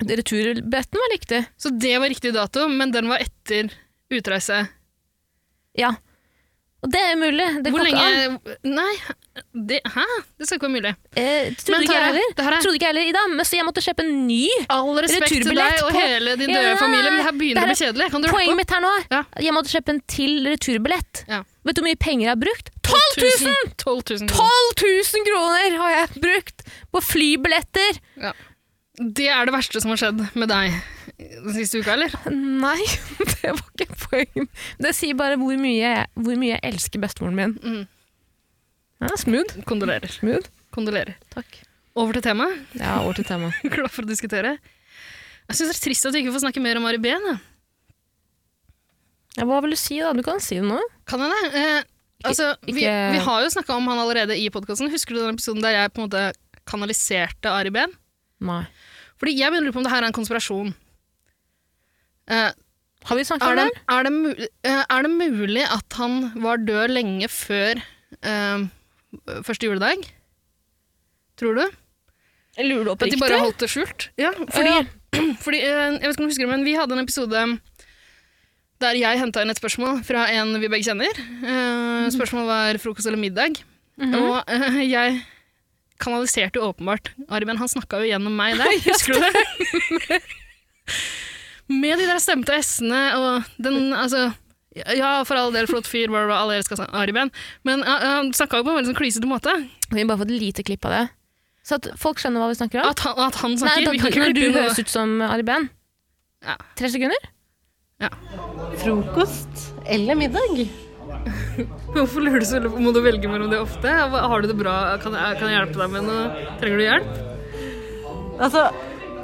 Speaker 3: Returbilletten var riktig.
Speaker 2: Så det var riktig dato, men den var etter utreise.
Speaker 3: Ja. Og det er mulig. Det
Speaker 2: Hvor
Speaker 3: går ikke an.
Speaker 2: lenge Nei, det, hæ? Det skal ikke være mulig.
Speaker 3: Eh, trodde
Speaker 2: Men
Speaker 3: ikke jeg
Speaker 2: Tara,
Speaker 3: heller.
Speaker 2: det her er-
Speaker 3: Trodde ikke jeg heller, Ida. Men så jeg måtte kjøpe en ny.
Speaker 2: All respekt til
Speaker 3: Returbillett
Speaker 2: deg og
Speaker 3: på-
Speaker 2: hele din døde
Speaker 3: Ja,
Speaker 2: familie, men det her begynner å
Speaker 3: det
Speaker 2: bli kjedelig. Kan du rappe
Speaker 3: Poenget
Speaker 2: opp?
Speaker 3: mitt her nå er
Speaker 2: Ja.
Speaker 3: jeg måtte kjøpe en til returbillett.
Speaker 2: Ja.
Speaker 3: Vet du hvor mye penger jeg har brukt? 12 000!
Speaker 2: 12 000
Speaker 3: 12
Speaker 2: kroner.
Speaker 3: 000 kroner har jeg brukt på flybilletter!
Speaker 2: Det er det verste som har skjedd med deg den siste uka, eller?
Speaker 3: Nei, det var ikke poenget. Det sier bare hvor mye, jeg- hvor mye jeg elsker bestemoren min.
Speaker 2: Mm.
Speaker 3: Ja, smooth.
Speaker 2: Kondolerer.
Speaker 3: smooth.
Speaker 2: Kondolerer.
Speaker 3: Takk.
Speaker 2: Over til temaet.
Speaker 3: Ja, over til temaet.
Speaker 2: Glad for å diskutere. Jeg syns det er trist at vi ikke får snakke mer om Ari Behn. jeg.
Speaker 3: Ja, hva vil du si, da? Du kan si det nå.
Speaker 2: Kan jeg det? Eh, altså, vi,
Speaker 3: ikke-
Speaker 2: vi har jo snakka om han allerede i podkasten. Husker du den episoden der jeg på en måte kanaliserte Ari Behn?
Speaker 3: Nei.
Speaker 2: Fordi jeg begynner å lure på om det her er en konspirasjon. Eh,
Speaker 3: Har vi snakket om
Speaker 2: er, det,
Speaker 3: det?
Speaker 2: er, det mulig, eh, er det mulig at han var død lenge før eh, første juledag? Tror du?
Speaker 3: Lurer du
Speaker 2: At de bare holdt det skjult? Ja, fordi, fordi eh, Jeg vet ikke om du husker det, men vi hadde en episode der jeg henta inn et spørsmål fra en vi begge kjenner. Eh,
Speaker 3: Mhm.
Speaker 2: spørsmålet var frokost eller middag. Og eh, jeg kanaliserte jo åpenbart Arben, han snakka jo gjennom meg der. Husker du det? Med de der stemte s-ene og den Altså, ja, for all del, flott fyr, bla, bla, bla, alle elsker Arben. Men eh, han snakka jo på en veldig sånn klysete måte.
Speaker 3: Vi har bare fått et lite klipp av det. Så at folk skjønner hva vi snakker om.
Speaker 2: At han, at han
Speaker 3: Nei,
Speaker 2: snakker.
Speaker 3: da,
Speaker 2: vi kan ikke
Speaker 3: når du
Speaker 2: klippe inn noe.
Speaker 3: høres ut som Ari Behn.
Speaker 2: Ja.
Speaker 3: Tre sekunder?
Speaker 6: Frokost eller middag?
Speaker 2: Hvorfor lurer du så veldig på? Må du velge mellom det ofte? Har du det bra? Kan jeg, kan jeg hjelpe deg med noe? Trenger du hjelp?
Speaker 6: Altså,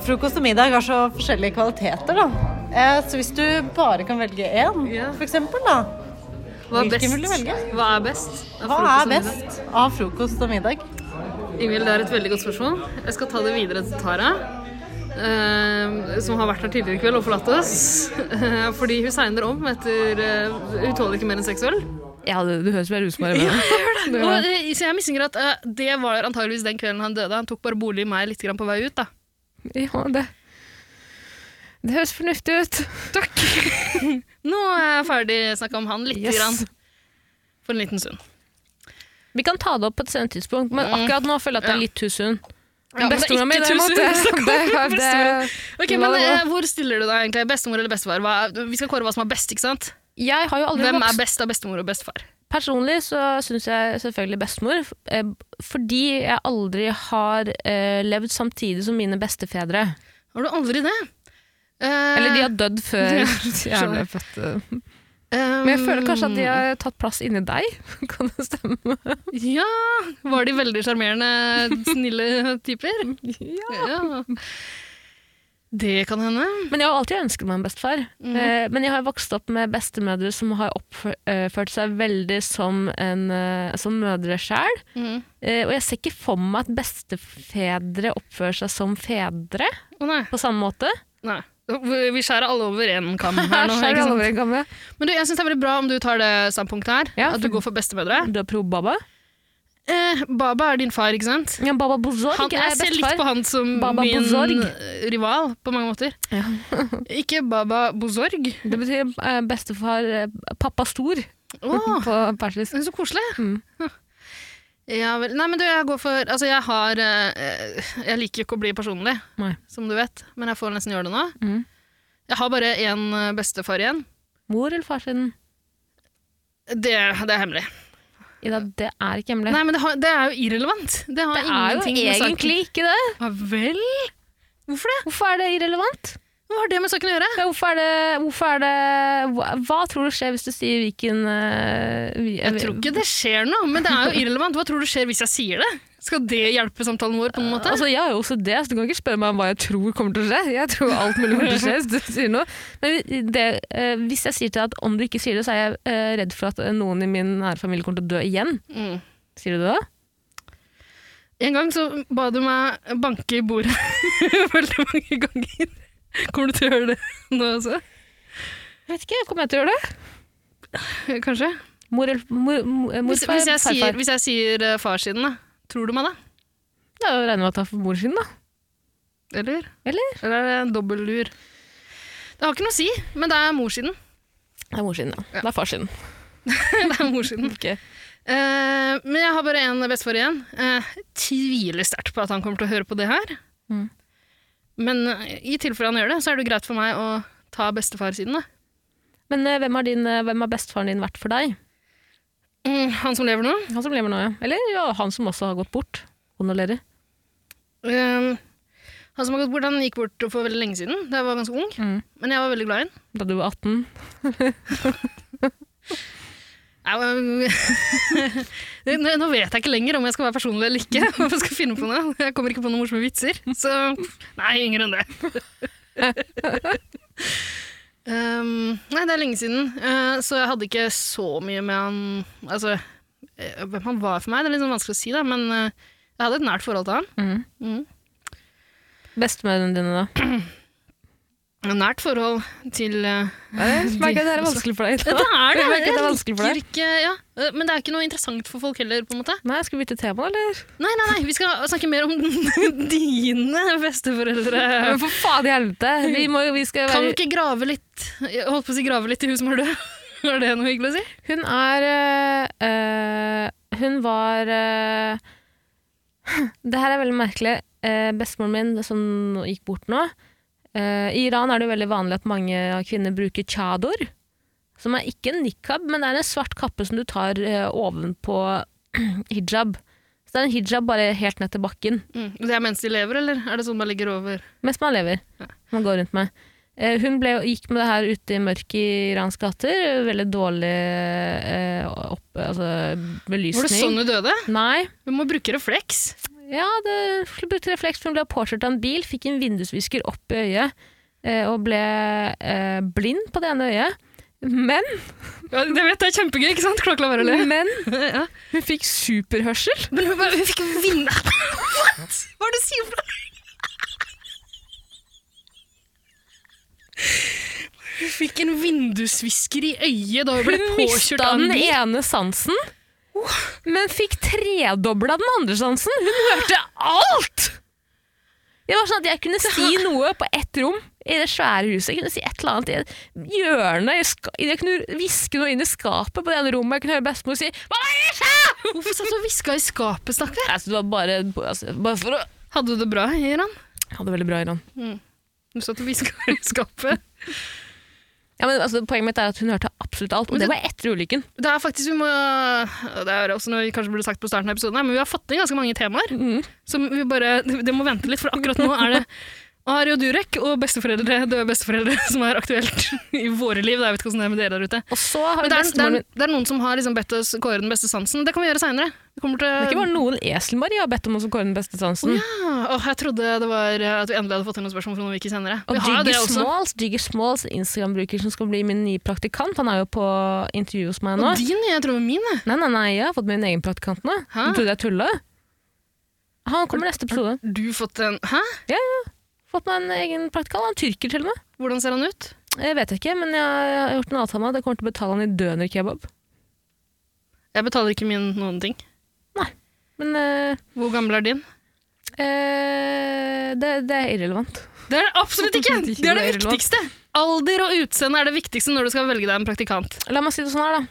Speaker 6: frokost og middag har så forskjellige kvaliteter, da. Eh, så hvis du bare kan velge én,
Speaker 2: Ja.
Speaker 6: for eksempel, da.
Speaker 2: Hva er
Speaker 6: Hvilken
Speaker 2: best?
Speaker 6: vil du velge?
Speaker 2: Hva er best? av
Speaker 6: Hva
Speaker 2: frokost og
Speaker 6: er
Speaker 2: middag?
Speaker 6: best av frokost og middag?
Speaker 2: Ingvild, det er et veldig godt spørsmål. Jeg skal ta det videre til Tara. eh, som har vært her tidligere i kveld og forlatt oss. Eh, fordi hun segner om etter eh, Hun tåler ikke mer enn seks øl.
Speaker 3: Ja, du, du høres veldig ut som Ari Behn.
Speaker 2: Og, eh, Så jeg mistenker at eh, det var antageligvis den kvelden han døde. Han tok bare bolig i meg litt grann på vei ut, da.
Speaker 3: Ja, det. det høres fornuftig ut.
Speaker 2: Takk! Nå er jeg ferdig snakka om han litt
Speaker 3: Yes.
Speaker 2: grann. For en liten stund.
Speaker 3: Vi kan ta det opp på et senere tidspunkt, men
Speaker 2: Mm.
Speaker 3: akkurat nå føler jeg at det
Speaker 2: Ja.
Speaker 3: er litt too soon.
Speaker 2: Ja, men det er
Speaker 3: Bestemora mi,
Speaker 2: ikke
Speaker 3: derimot.
Speaker 2: tusen, så
Speaker 3: det-
Speaker 2: kommer
Speaker 3: det-
Speaker 2: bestemora. Ok,
Speaker 3: la
Speaker 2: men
Speaker 3: det gå.
Speaker 2: eh, Hvor stiller du deg egentlig? Bestemor eller bestefar? Hva, er- vi skal kåre hva som er best. ikke sant?
Speaker 3: Jeg har jo aldri
Speaker 2: Hvem er
Speaker 3: vokst
Speaker 2: best av bestemor og bestefar?
Speaker 3: Personlig så syns jeg selvfølgelig bestemor, f- eh, fordi jeg aldri har eh, levd samtidig som mine bestefedre.
Speaker 2: Har du aldri det? Eh,
Speaker 3: Eller de har dødd
Speaker 2: Ja,
Speaker 3: før
Speaker 2: eh.
Speaker 3: jeg ble
Speaker 2: skjønner.
Speaker 3: født. Men jeg føler kanskje at de har tatt plass inni deg. Kan det stemme?
Speaker 2: Ja! Var de veldig sjarmerende, snille typer? Ja. Det kan hende.
Speaker 3: Men jeg har alltid ønsket meg en bestefar.
Speaker 2: Mm.
Speaker 3: Eh, Men jeg har vokst opp med bestemødre som har oppført seg veldig som, en, eh, som mødre sjæl. Eh,
Speaker 2: Mhm.
Speaker 3: Og jeg ser ikke for meg at bestefedre oppfører seg som fedre
Speaker 2: Å nei.
Speaker 3: på samme måte.
Speaker 2: nei. Vi skjærer alle over én kam her
Speaker 3: Her
Speaker 2: nå.
Speaker 3: skjer
Speaker 2: ikke sånn.
Speaker 3: det
Speaker 2: sant?
Speaker 3: aldri, gamle.
Speaker 2: Men du, jeg synes det er veldig bra om du tar det standpunktet her.
Speaker 3: Ja,
Speaker 2: at du
Speaker 3: for-
Speaker 2: går for bestemødre.
Speaker 3: Du er pro Baba?
Speaker 2: Eh, Baba er din far, ikke sant?
Speaker 3: Ja, Baba Bozorg
Speaker 2: Han,
Speaker 3: er
Speaker 2: jeg ser litt på
Speaker 3: bestefar.
Speaker 2: han som
Speaker 3: Baba
Speaker 2: min
Speaker 3: Bozorg.
Speaker 2: eh, rival på mange måter.
Speaker 3: Ja.
Speaker 2: ikke Baba Bozorg.
Speaker 3: Det betyr eh, bestefar eh, Pappa Stor
Speaker 2: Åh,
Speaker 3: på persisk.
Speaker 2: så koselig.
Speaker 3: Mm.
Speaker 2: Ja vel. Nei, men du, jeg går for Altså, jeg har eh, Jeg liker jo ikke å bli personlig,
Speaker 3: Nei.
Speaker 2: som du vet, men jeg får nesten gjøre det nå.
Speaker 3: Mm.
Speaker 2: Jeg har bare én eh, bestefar igjen.
Speaker 3: Mor eller far sin?
Speaker 2: Det, det er hemmelig.
Speaker 3: Ida, det er ikke hemmelig.
Speaker 2: Nei, men det, har, det er jo irrelevant. Det har
Speaker 3: det er jo
Speaker 2: ingenting med saken
Speaker 3: egentlig ikke det.
Speaker 2: Ja vel? Hvorfor det?
Speaker 3: Hvorfor er det irrelevant?
Speaker 2: Hva har det med saken å gjøre?
Speaker 3: Ja, Hvorfor er det, hvorfor er det hva, hva tror du skjer hvis du sier Viken eh, vi-
Speaker 2: Jeg tror ikke det skjer noe, men det er jo irrelevant. Hva tror du skjer hvis jeg sier det? Skal det hjelpe samtalen vår på noen måte?
Speaker 3: Altså, jeg har jo også det, så du kan ikke spørre meg om hva jeg tror kommer til å skje. Jeg tror alt mulig kommer til å skje hvis du sier noe. Men vi- det, eh, hvis jeg sier til deg at om du ikke sier det, så er jeg eh, redd for at eh, noen i min nære familie kommer til å dø igjen.
Speaker 2: Mm.
Speaker 3: Sier du det da?
Speaker 2: En gang så ba du meg banke i bordet veldig mange ganger. Kommer du til å gjøre det nå også?
Speaker 3: Jeg vet ikke, kommer jeg til å gjøre det?
Speaker 2: Kanskje?
Speaker 3: Mor, eller- mor, mor, eh,
Speaker 2: Hvis,
Speaker 3: morfar,
Speaker 2: hvis, jeg
Speaker 3: farfar.
Speaker 2: sier, hvis jeg sier eh, farssiden, da. Tror du meg da?
Speaker 3: Da regner jeg med at det er for mor sin, da.
Speaker 2: Eller?
Speaker 3: Eller?
Speaker 2: Eller er det en dobbel lur? Det har ikke noe å si, men det er morssiden.
Speaker 3: Det er mor sin, ja.
Speaker 2: Ja.
Speaker 3: Det er far sin.
Speaker 2: Det er morssiden.
Speaker 3: Ok.
Speaker 2: Eh, men jeg har bare én bestefar igjen. Eh, tviler sterkt på at han kommer til å høre på det her.
Speaker 3: Mm.
Speaker 2: Men eh, i tilfelle han gjør det, så er det jo greit for meg å ta bestefarsiden. Da.
Speaker 3: Men eh, hvem, har din, eh, hvem har bestefaren din vært for deg?
Speaker 2: Mm, han som lever nå.
Speaker 3: Han som lever nå, ja. Eller ja, han som også har gått bort. Honorerer.
Speaker 2: Eh, han som har gått bort, han gikk bort for veldig lenge siden, da jeg var ganske ung.
Speaker 3: Mm.
Speaker 2: Men jeg var veldig glad i han.
Speaker 3: Da du var 18.
Speaker 2: Jeg var- Det- nå nå vet jeg ikke lenger om jeg skal være personlig eller ikke. Om jeg skal finne på noe. Jeg kommer ikke på noen morsomme vitser. Så nei, yngre enn det. um, nei, det er lenge siden, eh, så jeg hadde ikke så mye med han Altså, eh, hvem han var for meg, det er litt sånn vanskelig å si, da, men eh, jeg hadde et nært forhold til han.
Speaker 3: Mm.
Speaker 2: Mm.
Speaker 3: Bestemødrene dine, da?
Speaker 2: Et nært forhold til eh,
Speaker 3: Jeg merker at det her er vanskelig for deg.
Speaker 2: Ja, det er det!
Speaker 3: Jeg merker at det er
Speaker 2: Jeg
Speaker 3: vanskelig for deg.
Speaker 2: liker ikke- ja. Eh, Men det er ikke noe interessant for folk heller, på en måte.
Speaker 3: Nei, Skal vi bytte tema, eller?
Speaker 2: Nei, nei, nei, vi skal snakke mer om dine besteforeldre.
Speaker 3: Men for faen i helvete! Vi, må, jo- vi skal
Speaker 2: Kan du
Speaker 3: være...
Speaker 2: ikke grave litt Jeg holdt på å si grave litt i hun som er død? Er det noe hyggelig å si?
Speaker 3: Hun er øh, øh, Hun var øh, Det her er veldig merkelig. Eh, Bestemoren min, som nå gikk bort nå eh, I Iran er det jo veldig vanlig at mange av kvinner bruker chador. Som er ikke en nikab, men det er en svart kappe som du tar eh, ovenpå hijab. Så det er en hijab bare helt ned til bakken.
Speaker 2: Mm. Det er mens de lever, eller er det sånn man ligger over?
Speaker 3: Mens man lever. Man går rundt med. Eh, Hun ble, gikk med det her ute i mørket i Irans gater. Veldig dårlig eh, opp, altså, belysning.
Speaker 2: Var det sånn hun døde?
Speaker 3: Nei.
Speaker 2: Vi må bruke refleks.
Speaker 3: Ja, det hun brukte refleks. Hun ble påkjørt av en bil, fikk en vindusvisker opp i øyet eh, og ble eh, blind på det ene øyet. Men,
Speaker 2: Ja, det vet jeg er kjempegøy, ikke sant? Klokka være å le.
Speaker 3: men
Speaker 2: Ja.
Speaker 3: hun fikk superhørsel.
Speaker 2: Men hun, hun fikk vinne What? Hva er det du sier for noe? Hun fikk en vindusvisker i øyet da hun ble
Speaker 3: Hun
Speaker 2: påkjørt
Speaker 3: mista
Speaker 2: av en
Speaker 3: den
Speaker 2: bil.
Speaker 3: ene sansen, men fikk tredobla den andre sansen. Hun hørte alt! Det var sånn at Jeg kunne si noe på ett rom i det svære huset. Jeg kunne si et eller annet i et hjørne. i ska- Jeg kunne hviske noe inn i skapet på det ene rommet. Jeg kunne høre bestemor si «Hva er det som skjer?»
Speaker 2: Hvorfor satt du og hviska i skapet, stakkar?
Speaker 3: altså, Det var bare, altså, bare for å
Speaker 2: Hadde du det bra, Iran?
Speaker 3: Jeg hadde det veldig bra, Iran.
Speaker 2: Du satt og hviska i skapet.
Speaker 3: Ja, men altså, Poenget mitt er at hun hørte absolutt alt, og
Speaker 2: Men
Speaker 3: det
Speaker 2: det-
Speaker 3: var etter ulykken.
Speaker 2: Det er faktisk, vi må, det er også noe vi kanskje burde sagt på starten av episoden, her, men vi har fått inn ganske mange temaer.
Speaker 3: Mm.
Speaker 2: Som vi bare, det må vente litt, for akkurat nå er det Ari og Durek og besteforeldre, døde besteforeldre som er aktuelt i våre liv. Jeg vet ikke hvordan det er med dere der ute.
Speaker 3: Og så har
Speaker 2: Men det er, det
Speaker 3: bestemoren
Speaker 2: er,
Speaker 3: min
Speaker 2: det er noen som har liksom bedt oss kåre den beste sansen. Det kan vi gjøre seinere.
Speaker 3: Det er ikke
Speaker 2: Til...
Speaker 3: bare noen Eselmarie har bedt om å kåre den beste sansen.
Speaker 2: Ah, åh, jeg trodde det var eh, at vi endelig hadde fått inn noen spørsmål for noen uker senere.
Speaker 3: Og
Speaker 2: Vi har jo det
Speaker 3: Jiggy
Speaker 2: også.
Speaker 3: Smalls, Jiggy Smalls Instagram-bruker som skal bli min nye praktikant, han er jo på intervju hos meg nå.
Speaker 2: Og din, jeg tror det var min. jeg.
Speaker 3: Nei, nei, nei, jeg har fått min egen praktikant nå.
Speaker 2: Hæ?
Speaker 3: Du trodde jeg tulla? Han kommer i neste episode.
Speaker 2: Du fått en Hæ?
Speaker 3: Fått meg en egen praktikant, han er tyrker til og med.
Speaker 2: Hvordan ser han ut?
Speaker 3: Jeg vet ikke, men jeg har gjort en avtale med at jeg kommer til å betale han i dønerkebab.
Speaker 2: Jeg betaler ikke min noen ting.
Speaker 3: Men eh,
Speaker 2: Hvor gammel er din?
Speaker 3: eh, det, det er irrelevant.
Speaker 2: Det er det absolutt ikke!
Speaker 3: Det er
Speaker 2: Det er det
Speaker 3: irrelevant.
Speaker 2: viktigste! Alder og utseende er det viktigste når du skal velge deg en praktikant.
Speaker 3: La meg si det sånn her, da.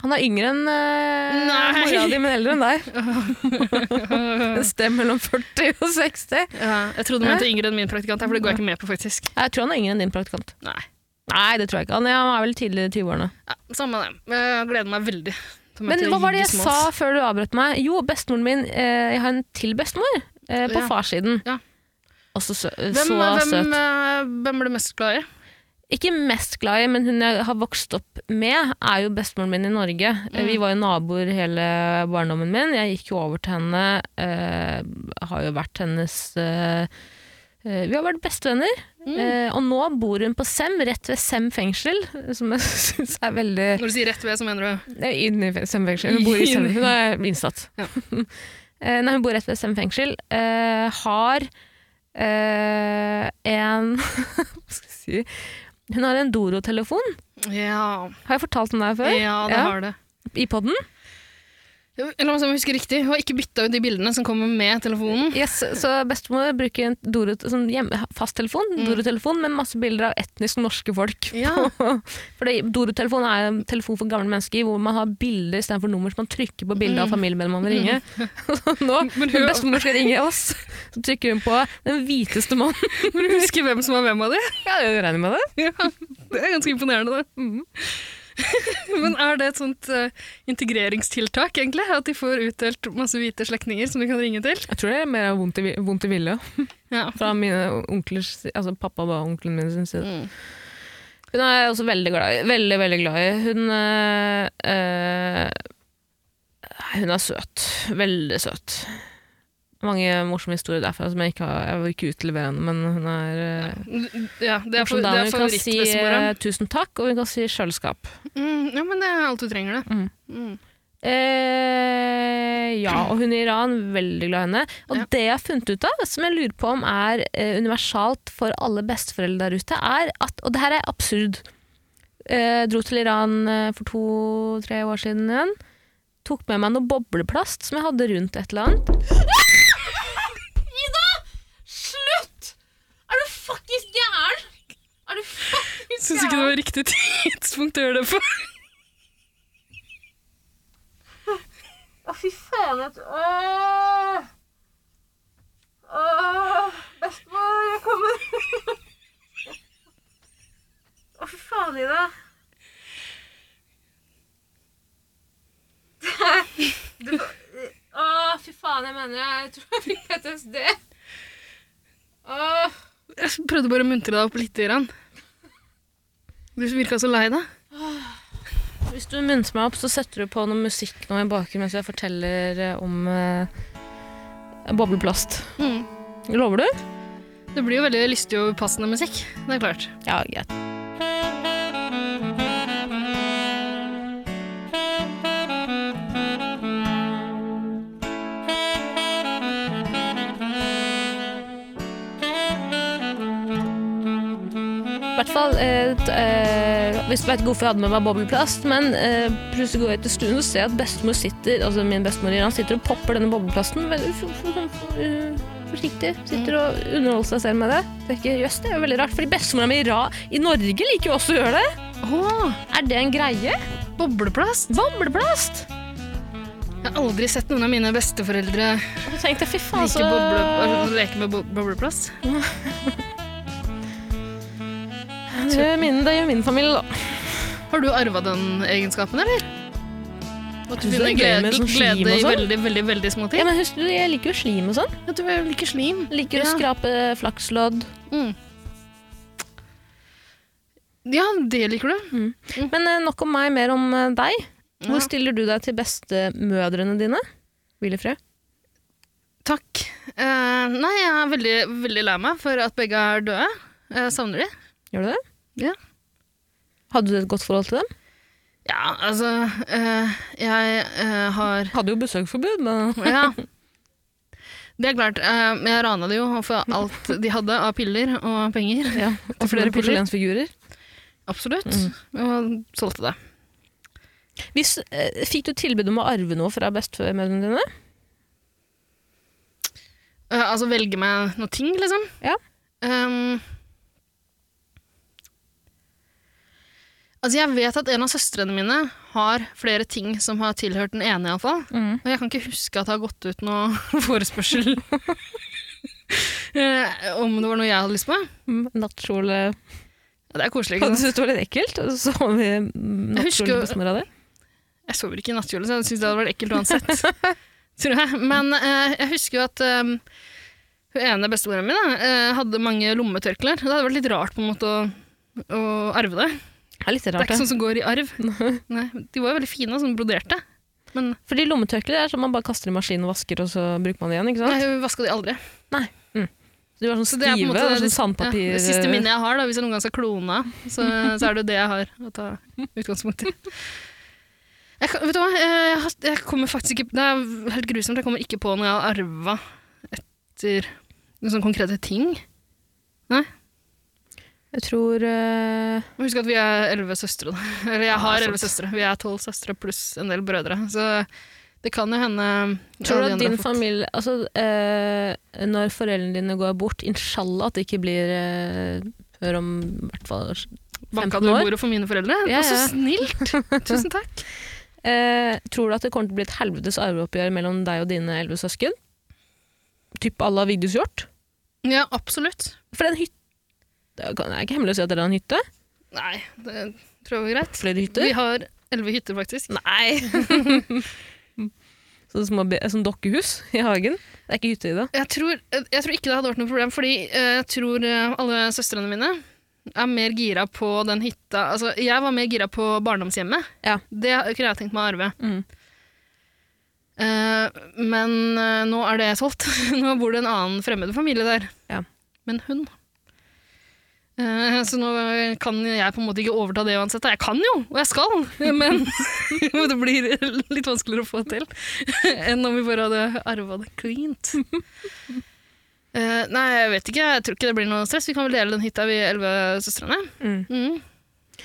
Speaker 3: Han er yngre enn uh,
Speaker 2: Nei.
Speaker 3: mora di, men eldre enn deg. Et sted mellom 40 og 60.
Speaker 2: Ja, jeg trodde du mente yngre enn min praktikant, her, for det går jeg ikke med på, faktisk.
Speaker 3: Jeg tror han er yngre enn din praktikant.
Speaker 2: Nei,
Speaker 3: Nei, det tror jeg ikke. Han er, han er vel tidlig i 20-årene.
Speaker 2: ja, Samme det. Jeg gleder meg veldig. til å
Speaker 3: Men
Speaker 2: møte
Speaker 3: hva var det jeg
Speaker 2: Jiggy
Speaker 3: sa
Speaker 2: Smalls.
Speaker 3: før du avbrøt meg? Jo, bestemoren min eh, Jeg har en til bestemor eh, på
Speaker 2: Ja.
Speaker 3: farssiden.
Speaker 2: Ja.
Speaker 3: Også sø
Speaker 2: Hvem,
Speaker 3: så
Speaker 2: hvem,
Speaker 3: søt.
Speaker 2: eh, hvem er du mest glad i?
Speaker 3: Ikke mest glad i, men hun jeg har vokst opp med, er jo bestemoren min i Norge. Eh,
Speaker 2: Mm.
Speaker 3: Vi var jo naboer hele barndommen min. Jeg gikk jo over til henne. Eh, har jo vært hennes eh, eh, Vi har vært bestevenner.
Speaker 2: Mm.
Speaker 3: Eh, og nå bor hun på Sem, rett ved Sem fengsel, som jeg syns er veldig
Speaker 2: Når du sier rett ved, så mener du
Speaker 3: Nei, Inn i Sem fengsel. Hun bor i Sem Hun er innsatt.
Speaker 2: Ja.
Speaker 3: Eh, Nei, hun bor rett ved Sem fengsel. Eh, har eh, en Hva skal jeg si Hun har en Doro-telefon.
Speaker 2: Ja,
Speaker 3: Har jeg fortalt om det her før?
Speaker 2: ja det
Speaker 3: Ja.
Speaker 2: har det.
Speaker 3: I poden?
Speaker 2: Jo, La meg se om jeg husker riktig. Hun har ikke bytta ut de bildene som kommer med telefonen.
Speaker 3: Yes, så bestemor bruker en Doro, sånn hjemme, fasttelefon,
Speaker 2: Mm.
Speaker 3: Doro-telefon med masse bilder av etnisk norske folk.
Speaker 2: Ja.
Speaker 3: For Doro-telefon er en telefon for gamle mennesker hvor man har bilder istedenfor nummer, så man trykker på bildet av familiemedlemmer man ringer. Så Nå,
Speaker 2: Men
Speaker 3: Mm. men
Speaker 2: hun-
Speaker 3: bestemor skal ringe oss, så trykker hun på den hviteste mannen.
Speaker 2: Men du husker hvem som var hvem av de?
Speaker 3: Ja, jeg regner med det.
Speaker 2: Ja, det er ganske imponerende, det. Mhm. Men er det et sånt eh, integreringstiltak, egentlig? At de får utdelt masse hvite slektninger som de kan ringe til?
Speaker 3: Jeg tror det er mer av vondt i, vi- vondt i vilje
Speaker 2: Ja.
Speaker 3: fra mine onklers, si- altså pappa og onkelen min sin side.
Speaker 2: Mm.
Speaker 3: Hun er jeg også veldig glad i. Veldig, veldig glad i. Hun eh, eh, Hun er søt. Veldig søt. Mange morsomme historier derfra som jeg ikke har Jeg vil ikke utlevere henne, men hun er eh,
Speaker 2: ja det er, for,
Speaker 3: morsom
Speaker 2: det
Speaker 3: dame.
Speaker 2: er
Speaker 3: Hun kan si
Speaker 2: favorittbestemora.
Speaker 3: eh, tusen takk, og hun kan si kjøleskap.
Speaker 2: Mm, ja, men det er alt du trenger, det.
Speaker 3: Mm.
Speaker 2: Mm.
Speaker 3: Eh, ja, og hun i Iran, veldig glad i henne. Og
Speaker 2: Ja.
Speaker 3: det jeg har funnet ut av, som jeg lurer på om er eh, universalt for alle besteforeldre der ute, er at Og det her er absurd. Eh, dro til Iran eh, for to-tre år siden igjen. Tok med meg noe bobleplast som jeg hadde rundt et eller annet.
Speaker 2: Syns ikke det var riktig tidspunkt å gjøre det på.
Speaker 6: Å, fy faen. Jeg... Åh! Åh! Bestemor, jeg kommer. Å, fy faen, Ida.
Speaker 3: Å, fy faen, jeg mener jeg tror jeg fikk PTSD. Åh.
Speaker 2: Jeg prøvde bare å muntre deg opp litt, Iran. Du virka så lei deg.
Speaker 3: Hvis du munter meg opp, så setter du på noe musikk nå i bakgrunnen mens jeg forteller eh, om eh, bobleplast.
Speaker 2: Mm.
Speaker 3: Lover du?
Speaker 2: Det blir jo veldig lystig og passende musikk. Det er klart.
Speaker 3: Ja, greit. I hvert fall eh, t- eh, Hvis du vet ikke hvorfor jeg hadde med meg bobleplast, men eh, plutselig går jeg til stuen og ser at bestemor sitter Altså min bestemor Iran sitter og popper denne bobleplasten. Veldig f- f- f- eh, Forsiktig. Sitter og underholder seg selv med det. Tenker, Jøss, det er jo veldig rart, fordi bestemora mi i Ra- i Norge liker jo også å gjøre det.
Speaker 2: Åh,
Speaker 3: Er det en greie?
Speaker 2: bobleplast!
Speaker 3: Bobleplast!
Speaker 2: Jeg har aldri sett noen av mine besteforeldre
Speaker 3: Du tenkte fy faen,
Speaker 2: like
Speaker 3: så
Speaker 2: boble, altså, leke med bo bobleplast.
Speaker 3: Det gjør min, det gjør min familie, da.
Speaker 2: Har du arva den egenskapen, eller? At du
Speaker 3: Synes du
Speaker 2: finner
Speaker 3: det er gøy med
Speaker 2: glede,
Speaker 3: sånn slim
Speaker 2: glede
Speaker 3: og
Speaker 2: i
Speaker 3: sånn?
Speaker 2: veldig, veldig veldig små
Speaker 3: Ja,
Speaker 2: ting?
Speaker 3: men husk, du, jeg liker jo slim og sånn.
Speaker 2: Ja, du er vel ikke slim.
Speaker 3: Liker å
Speaker 2: Ja.
Speaker 3: skrape flakslodd.
Speaker 2: Mm. Ja, det liker du.
Speaker 3: Men eh, nok om meg, mer om eh, deg.
Speaker 2: Ja.
Speaker 3: Hvor stiller du deg til bestemødrene dine? Willefred?
Speaker 2: Takk. Eh, nei, jeg er veldig, veldig lei meg for at begge er døde. Jeg savner de.
Speaker 3: Gjør du det?
Speaker 2: Ja.
Speaker 3: Hadde du et godt forhold til dem?
Speaker 2: Ja, altså eh, Jeg eh, har
Speaker 3: Hadde jo besøksforbud, men
Speaker 2: Ja. Det er klart. eh, men jeg rana det jo for alt de hadde av piller og penger.
Speaker 3: ja,
Speaker 2: flere
Speaker 3: Og flere
Speaker 2: piller.
Speaker 3: porselensfigurer.
Speaker 2: Absolutt.
Speaker 3: Mm.
Speaker 2: Og solgte det.
Speaker 3: Hvis, eh, fikk du tilbud om å arve noe fra bestemødrene dine?
Speaker 2: Eh, altså velge meg noe ting, liksom.
Speaker 3: Ja.
Speaker 2: Ehm, altså jeg vet at en av søstrene mine har flere ting som har tilhørt den ene, iallfall.
Speaker 3: Mm.
Speaker 2: Og jeg kan ikke huske at det har gått ut noe forespørsel eh, om det var noe jeg hadde lyst på.
Speaker 3: Nattkjole
Speaker 2: Ja, Det er koselig. Mm. ikke
Speaker 3: Hadde
Speaker 2: sant?
Speaker 3: syntes det var eh, litt ekkelt, og så så vi mm,
Speaker 2: husker
Speaker 3: nattkjolen
Speaker 2: jo-
Speaker 3: på bestemora di.
Speaker 2: Jeg sover ikke i nattkjole, så jeg syns det hadde vært ekkelt uansett. tror jeg. Men eh, jeg husker jo at eh, hun ene bestemoren min da, eh, hadde mange lommetørklær. og Det hadde vært litt rart på en måte å, å arve det.
Speaker 3: Det er litt
Speaker 2: Det er
Speaker 3: rart,
Speaker 2: ikke
Speaker 3: det.
Speaker 2: sånn som går i arv. Nei, de var jo veldig fine, sånn broderte. Men
Speaker 3: Fordi lommetørklær er sånn man bare kaster i maskinen og vasker, og så bruker man det igjen. ikke
Speaker 2: nei,
Speaker 3: sant?
Speaker 2: hun vaska de aldri.
Speaker 3: Så de var sånn
Speaker 2: Så
Speaker 3: stive, og sånn sandpapir
Speaker 2: ja, det siste minnet jeg har, da, hvis jeg noen gang skal klone, så, så er det jo det jeg har å ta utgangspunkt i. Jeg, kan- vet du hva? Jeg, har- jeg kommer faktisk ikke Det er helt grusomt. Jeg kommer ikke på når jeg har arva etter noen sånne konkrete ting.
Speaker 3: Jeg tror eh,
Speaker 2: Men Husk at vi er elleve søstre. Da. Eller jeg har
Speaker 3: sant.
Speaker 2: elleve søstre. Vi er tolv søstre pluss en del brødre. Så det kan jo hende
Speaker 3: Tror
Speaker 2: alle de andre
Speaker 3: du at
Speaker 2: har
Speaker 3: din
Speaker 2: fått-
Speaker 3: familie Altså, eh, når foreldrene dine går bort, inshallah at det ikke blir eh, før om i hvert fall
Speaker 2: Banka
Speaker 3: 15
Speaker 2: du i
Speaker 3: år?
Speaker 2: bordet for mine foreldre?
Speaker 3: Ja,
Speaker 2: Og så
Speaker 3: ja.
Speaker 2: snilt! Tusen takk.
Speaker 3: eh, Tror du at det kommer til å bli et helvetes arveoppgjør mellom deg og dine elleve søsken? Typ à la Vigdis Hjorth?
Speaker 2: Ja, absolutt.
Speaker 3: For den hytta Det er ikke hemmelig å si at dere har en hytte?
Speaker 2: Nei, det tror jeg var greit.
Speaker 3: Flere hytter?
Speaker 2: Vi har elleve hytter, faktisk.
Speaker 3: Nei! Sånne små be- sånn dokkehus i hagen. Det er ikke hytte i det.
Speaker 2: Jeg tror, jeg tror ikke det hadde vært noe problem, fordi eh, jeg tror eh, alle søstrene mine er mer gira på den hytta Altså, jeg var mer gira på barndomshjemmet.
Speaker 3: Ja.
Speaker 2: Det kunne jeg tenkt meg å arve.
Speaker 3: Mm.
Speaker 2: Eh, men eh, nå er det solgt. nå bor det en annen fremmed familie der.
Speaker 3: Ja.
Speaker 2: Men hun. Eh, så nå kan jeg på en måte ikke overta det uansett. Jeg kan jo, og jeg skal, men det blir litt vanskeligere å få til enn om vi bare hadde arva det cleant. Eh, nei, jeg vet ikke. Jeg tror ikke det blir noe stress. Vi kan vel dele den hytta, vi elleve søstrene.
Speaker 3: Mm.
Speaker 2: Mm.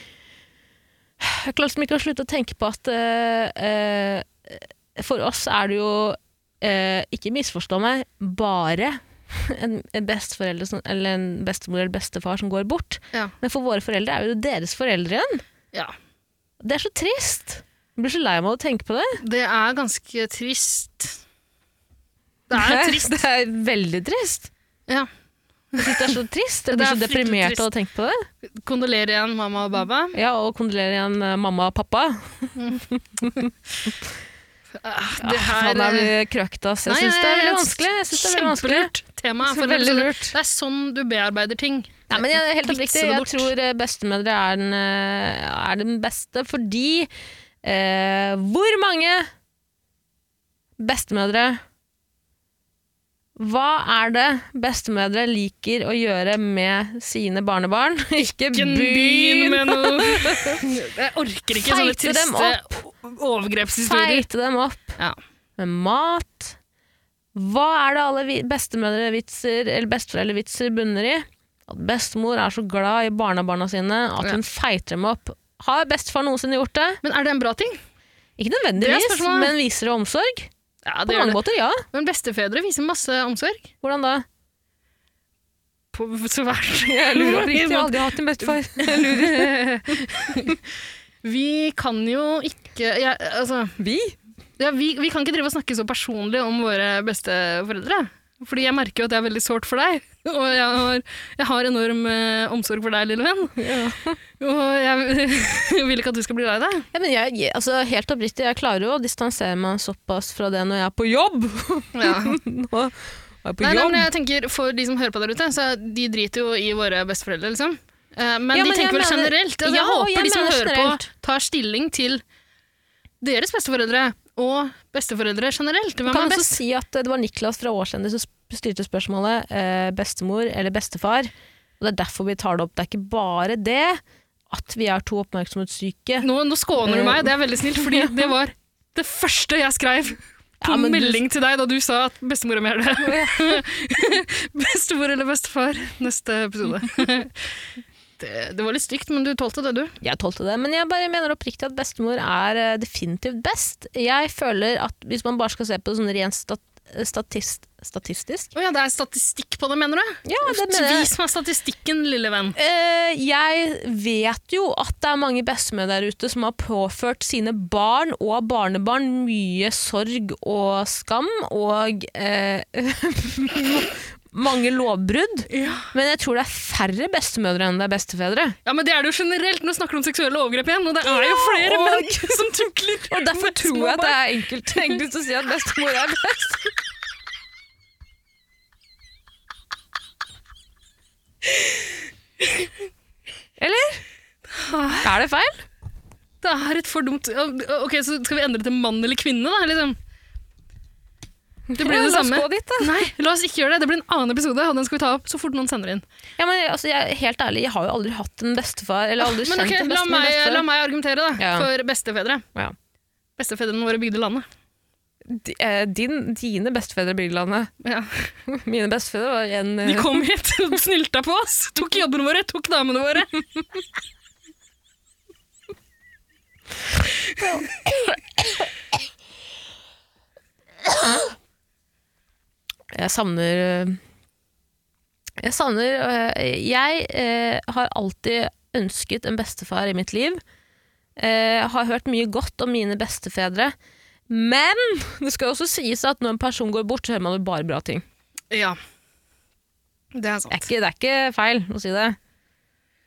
Speaker 3: Jeg klarer liksom ikke å slutte å tenke på at eh, eh, for oss er det jo eh, Ikke misforstå meg, bare en, en besteforelder som, eller en bestemor eller bestefar som går bort.
Speaker 2: Ja.
Speaker 3: Men for våre foreldre er jo det deres foreldre igjen.
Speaker 2: ja.
Speaker 3: Det er så trist! Jeg blir så lei meg av å tenke på det.
Speaker 2: Det er ganske trist. Det er trist.
Speaker 3: Det er veldig trist.
Speaker 2: Ja.
Speaker 3: Jeg synes det er så trist.
Speaker 2: Det
Speaker 3: Jeg blir
Speaker 2: er
Speaker 3: så
Speaker 2: fryktelig
Speaker 3: deprimert av
Speaker 2: trist.
Speaker 3: å tenke på det.
Speaker 2: Kondolerer igjen, mamma og baba.
Speaker 3: Ja, og kondolerer igjen eh, mamma og pappa.
Speaker 2: Ah,
Speaker 3: Ja,
Speaker 2: det her
Speaker 3: faen, er vi krøkt, ass. Jeg
Speaker 2: Nei,
Speaker 3: syns det er
Speaker 2: nei,
Speaker 3: veldig
Speaker 2: det er
Speaker 3: vanskelig. Jeg synes det er veldig vanskelig.
Speaker 2: Kjempelurt tema.
Speaker 3: Så
Speaker 2: For
Speaker 3: veldig
Speaker 2: det er sånn-
Speaker 3: lurt.
Speaker 2: Det er sånn du bearbeider ting.
Speaker 3: Nei, men jeg, helt oppriktig,
Speaker 2: Vitser det
Speaker 3: jeg
Speaker 2: bort.
Speaker 3: tror eh, bestemødre er den, eh, er den beste fordi eh, Hvor mange bestemødre Hva er det bestemødre liker å gjøre med sine barnebarn? Ikke
Speaker 2: Begynn
Speaker 3: begynn!
Speaker 2: med noe Jeg orker ikke sånne
Speaker 3: Feite dem
Speaker 2: triste overgrepshistorier.
Speaker 3: Feite dem opp
Speaker 2: Ja.
Speaker 3: med mat. Hva er det alle vi- bestemødrevitser eller besteforeldrevitser bunner i? At bestemor er så glad i barnebarna sine at
Speaker 2: Ja.
Speaker 3: hun feiter dem opp. Har bestefar noensinne gjort det?
Speaker 2: Men er det en bra ting?
Speaker 3: Ikke
Speaker 2: Det er
Speaker 3: nødvendigvis,
Speaker 2: spørsmålet.
Speaker 3: men viser det omsorg?
Speaker 2: Ja,
Speaker 3: På mange måter, ja.
Speaker 2: Men bestefedre viser masse omsorg.
Speaker 3: Hvordan da?
Speaker 2: På svært
Speaker 3: aldri hatt en bestefar.
Speaker 2: Vi kan jo ikke jeg, altså,
Speaker 3: Vi?
Speaker 2: Ja, vi, vi kan ikke drive og snakke så personlig om våre besteforeldre. Fordi jeg merker jo at det er veldig sårt for deg. Og jeg har, jeg har enorm eh, omsorg for deg, lille venn. Og jeg, vil ikke at du skal bli lei deg.
Speaker 3: Ja, men jeg, jeg, altså, helt oppriktig, jeg klarer jo å distansere meg såpass fra det når jeg er på jobb.
Speaker 2: Ja.
Speaker 3: Nå er jeg på
Speaker 2: Nei, nei,
Speaker 3: jobb.
Speaker 2: men jeg tenker For de som hører på der ute, så de driter jo i våre besteforeldre, liksom. Eh, Men de
Speaker 3: Ja, men jeg
Speaker 2: tenker vel
Speaker 3: mener-
Speaker 2: generelt. Altså,
Speaker 3: Ja,
Speaker 2: jeg
Speaker 3: og jeg
Speaker 2: håper de som
Speaker 3: mener
Speaker 2: hører
Speaker 3: generelt.
Speaker 2: på, tar stilling til deres besteforeldre og besteforeldre generelt. Hvem
Speaker 3: kan
Speaker 2: er
Speaker 3: også
Speaker 2: best?
Speaker 3: si at eh, det var Niklas fra Årslender som sp- stilte spørsmålet eh, bestemor eller bestefar. Og det er derfor vi tar det opp. Det er ikke bare det at vi er to oppmerksomhetssyke.
Speaker 2: Nå, nå skåner du
Speaker 3: Eh.
Speaker 2: meg, det er veldig snilt, fordi det var det første jeg skrev på
Speaker 3: Ja, men du-
Speaker 2: melding til deg da du sa at bestemor er mer det. bestemor eller bestefar, neste episode. det, det var litt stygt, men du tålte det, du.
Speaker 3: Jeg tålte det, men jeg bare mener oppriktig at bestemor er eh, definitivt best. Jeg føler at hvis man bare skal se på det sånn rent stat statist statistisk
Speaker 2: Å ja, det er statistikk på det, mener du?
Speaker 3: Ja, det mener jeg.
Speaker 2: Vis meg statistikken, lille venn.
Speaker 3: Eh, jeg vet jo at det er mange bestemødre der ute som har påført sine barn og barnebarn mye sorg og skam og eh, mange lovbrudd.
Speaker 2: Ja.
Speaker 3: Men jeg tror det er færre bestemødre enn det er bestefedre.
Speaker 2: Men det er det jo generelt. Nå snakker du om seksuelle overgrep igjen, og det er jo flere
Speaker 3: og-
Speaker 2: menn som tukler.
Speaker 3: Og derfor tror jeg at det er enkelt enklest å si at bestemor er best. Eller?
Speaker 2: Ah.
Speaker 3: Er det feil?
Speaker 2: Det er et for dumt Ok, så skal vi endre til mann eller kvinne, da? liksom? Det blir
Speaker 3: Ja,
Speaker 2: det
Speaker 3: la oss
Speaker 2: samme.
Speaker 3: gå dit, da.
Speaker 2: Nei, la oss ikke gjøre det. Det blir en annen episode, og den skal vi ta opp så fort noen sender inn.
Speaker 3: Ja, men altså, jeg, helt ærlig, jeg har jo aldri hatt en bestefar, eller aldri
Speaker 2: Ah, Men
Speaker 3: kjent
Speaker 2: ok,
Speaker 3: en
Speaker 2: la
Speaker 3: bestemor
Speaker 2: meg,
Speaker 3: bestefar.
Speaker 2: la meg argumentere, da.
Speaker 3: Ja.
Speaker 2: For bestefedre.
Speaker 3: Ja.
Speaker 2: Bestefedrene våre bygde landet.
Speaker 3: D- eh, Din, dine bestefedre i Bygdelandet.
Speaker 2: Ja.
Speaker 3: Mine bestefedre var en eh,
Speaker 2: De kom hit og snylta på oss. Tok jobbene våre, tok damene våre.
Speaker 3: Jeg savner eh, Jeg savner eh, Jeg eh, har alltid ønsket en bestefar i mitt liv. Eh, har hørt mye godt om mine bestefedre. Men det skal jo også sies at når en person går bort, så hører man jo bare bra ting.
Speaker 2: Ja. Det er sant.
Speaker 3: Det er ikke, det er ikke feil å si det.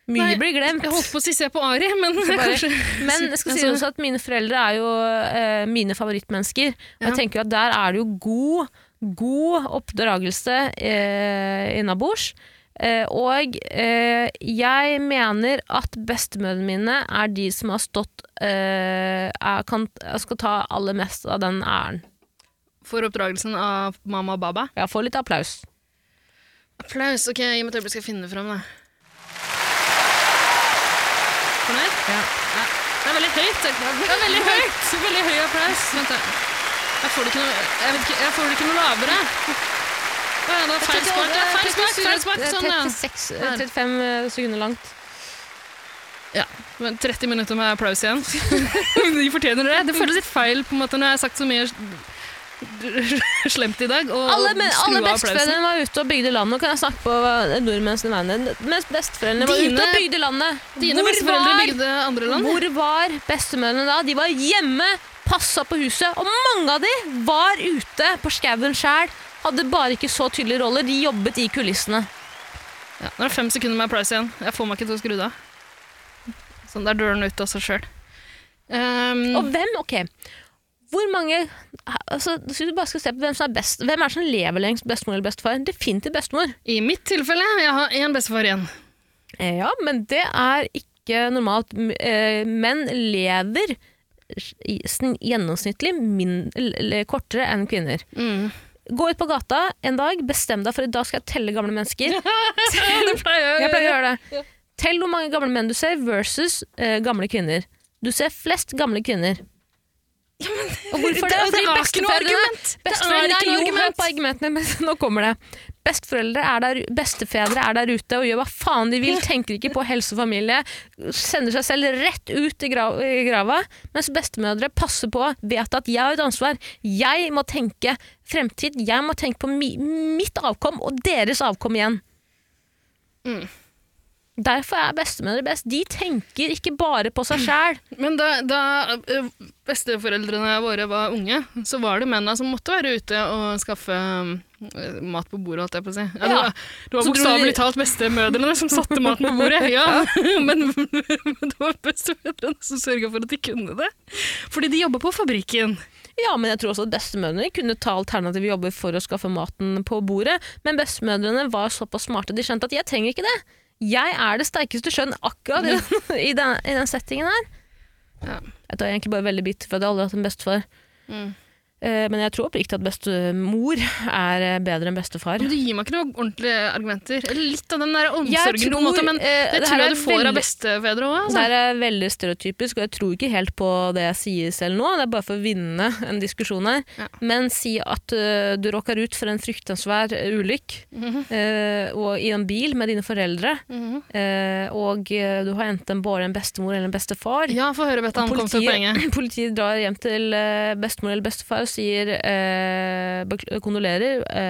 Speaker 3: Mye
Speaker 2: Nei,
Speaker 3: blir glemt.
Speaker 2: Jeg holdt på å si se på Ari, men kanskje
Speaker 3: Men jeg skal si
Speaker 2: Altså-
Speaker 3: også at mine foreldre er jo eh, mine favorittmennesker. Og
Speaker 2: Ja.
Speaker 3: jeg tenker jo at der er det jo god, god oppdragelse eh, innabords. Eh, og eh, jeg mener at bestemødrene mine er de som har stått eh, er, kan, Skal ta aller mest av den æren.
Speaker 2: For oppdragelsen av mamma og baba.
Speaker 3: Jeg får litt applaus.
Speaker 2: Applaus. Ok, gi meg et øyeblikk, skal jeg finne det fram. da. Fornøyd?
Speaker 3: Ja.
Speaker 2: Ja. Det er veldig høyt. Det er veldig høyt. Veldig høy applaus. Vent, da. Jeg får det ikke noe, jeg vet ikke, jeg får det ikke noe lavere. Å ja, det var feil spark. Ja, feil spark, feil spark. Sånn, ja.
Speaker 3: 36, eh, 35 sekunder langt.
Speaker 2: Ja, men 30 minutter med applaus igjen. De fortjener det. Det føles litt feil på en måte når jeg har sagt så mye slemt i dag. Og
Speaker 3: Alle, men,
Speaker 2: skru
Speaker 3: alle
Speaker 2: av applausen.
Speaker 3: besteforeldrene var ute og bygde landet. Nå kan jeg snakke på hva nordmenn sine vegne. Mens besteforeldrene var
Speaker 2: Dine-
Speaker 3: ute og bygde landet.
Speaker 2: Dine besteforeldre bygde andre land.
Speaker 3: hvor var bestemødrene da? De var hjemme, passa på huset. Og mange av de var ute på skauen sjæl. Hadde bare ikke så tydelige roller. De jobbet i kulissene.
Speaker 2: Ja, nå er det fem sekunder med applaus igjen. Jeg får meg ikke til å skru det av. Sånn, der dør den ut av seg Ehm, sjøl. Mm.
Speaker 3: Og hvem? Ok. Hvor mange altså, Hvis du bare skal se på hvem som er best Hvem er det som lever lengst? Bestemor eller bestefar? Definitivt bestemor.
Speaker 2: I mitt tilfelle, jeg har én bestefar igjen.
Speaker 3: Eh, Ja, men det er ikke normalt. M- eh, Menn lever s- i- sn- gjennomsnittlig min, l- l- kortere enn kvinner. Gå ut på gata en dag, bestem deg for i dag skal jeg telle gamle mennesker.
Speaker 2: Det pleier
Speaker 3: Jeg pleier å gjøre det. Tell hvor mange gamle menn du ser versus eh, gamle kvinner. Du ser flest gamle kvinner. Og hvorfor det?
Speaker 2: Altså, det- det
Speaker 3: Fordi
Speaker 2: er ikke noe
Speaker 3: besteforeldrene-
Speaker 2: argument. Det er
Speaker 3: besteforeldrene-
Speaker 2: ikke noe
Speaker 3: jo,
Speaker 2: argument.
Speaker 3: hør på argumentene, men nå kommer det. Besteforeldre er der, bestefedre er der ute og gjør hva faen de vil, tenker ikke på helse og familie, sender seg selv rett ut i gra- i grava, mens bestemødre passer på, vet at jeg har et ansvar, jeg må tenke fremtid, jeg må tenke på mi, mitt avkom og deres avkom igjen. Derfor er bestemødre best. De tenker ikke bare på seg sjæl.
Speaker 2: Men da, da ø, besteforeldrene våre var unge, så var det mennene som måtte være ute og skaffe ø, mat på bordet, holdt jeg på å si. Ja, det
Speaker 3: Ja.
Speaker 2: var- Det var
Speaker 3: Så dro
Speaker 2: bokstavelig
Speaker 3: de-
Speaker 2: talt bestemødrene som satte maten på bordet, ja. men, men det var bestemødrene som sørga for at de kunne det. Fordi de jobba på fabrikken.
Speaker 3: Ja, men jeg tror også at bestemødrene kunne ta alternative jobber for å skaffe maten på bordet. Men bestemødrene var såpass smarte de skjønte at jeg trenger ikke det. Jeg er det sterkeste skjønn akkurat i den, i den, i den settingen her.
Speaker 2: Mm. Ja.
Speaker 3: Jeg er egentlig bare veldig bitter for at jeg aldri har hatt en bestefar.
Speaker 2: Mm.
Speaker 3: Eh, Men jeg tror oppriktig at bestemor er eh, bedre enn bestefar.
Speaker 2: Men du gir meg ikke noen ordentlige argumenter. Eller litt av den der
Speaker 3: Jeg
Speaker 2: omsorgen, på
Speaker 3: tror,
Speaker 2: en måte, men
Speaker 3: eh,
Speaker 2: det
Speaker 3: det
Speaker 2: tror
Speaker 3: her er
Speaker 2: jeg du får
Speaker 3: veldig-
Speaker 2: av bestefedre altså. òg.
Speaker 3: Det her er eh, veldig stereotypisk, og jeg tror ikke helt på det jeg sier selv nå. Det er bare for å vinne en diskusjon her.
Speaker 2: Ja.
Speaker 3: Men si at ø, du råkker ut for en fryktensvær ulykke eh, og i en bil med dine foreldre, ø, og ø, du har enten bare en bestemor eller en bestefar.
Speaker 2: Ja, få høre, Betta. Han kom til poenget.
Speaker 3: Politiet, politiet drar hjem til ø, bestemor eller bestefar og sier ø, bekl- kondolerer, ø,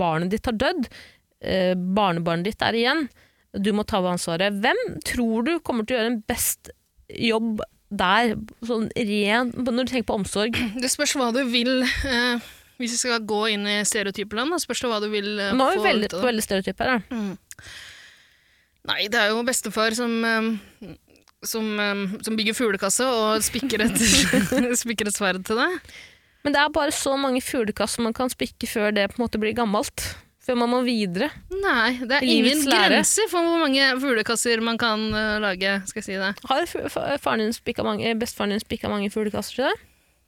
Speaker 3: barnet ditt har dødd, ø, barnebarnet ditt er igjen, du må ta over ansvaret. Hvem tror du kommer til å gjøre en best jobb der, sånn ren, når du tenker på omsorg?
Speaker 2: Det spørs hva du vil eh, Hvis vi skal gå inn i stereotypland, da spørs det hva du vil eh,
Speaker 3: Nå er
Speaker 2: få
Speaker 3: vi veldig,
Speaker 2: ut av det.
Speaker 3: veldig stereotyper. Da.
Speaker 2: Nei, det er jo bestefar som eh, som, eh, som bygger fuglekasse og spikker et, spikker et sverd til deg.
Speaker 3: Men det er bare så mange fuglekass man kan spikke før det på en måte blir gammelt. Før man må videre.
Speaker 2: Nei, det er ingen
Speaker 3: Livets lære.
Speaker 2: grenser for hvor mange fuglekasser man kan eh, lage. skal jeg si det.
Speaker 3: Har fu- fa- faren din spikka mange, eh, bestefaren din spikka mange fuglekasser til deg?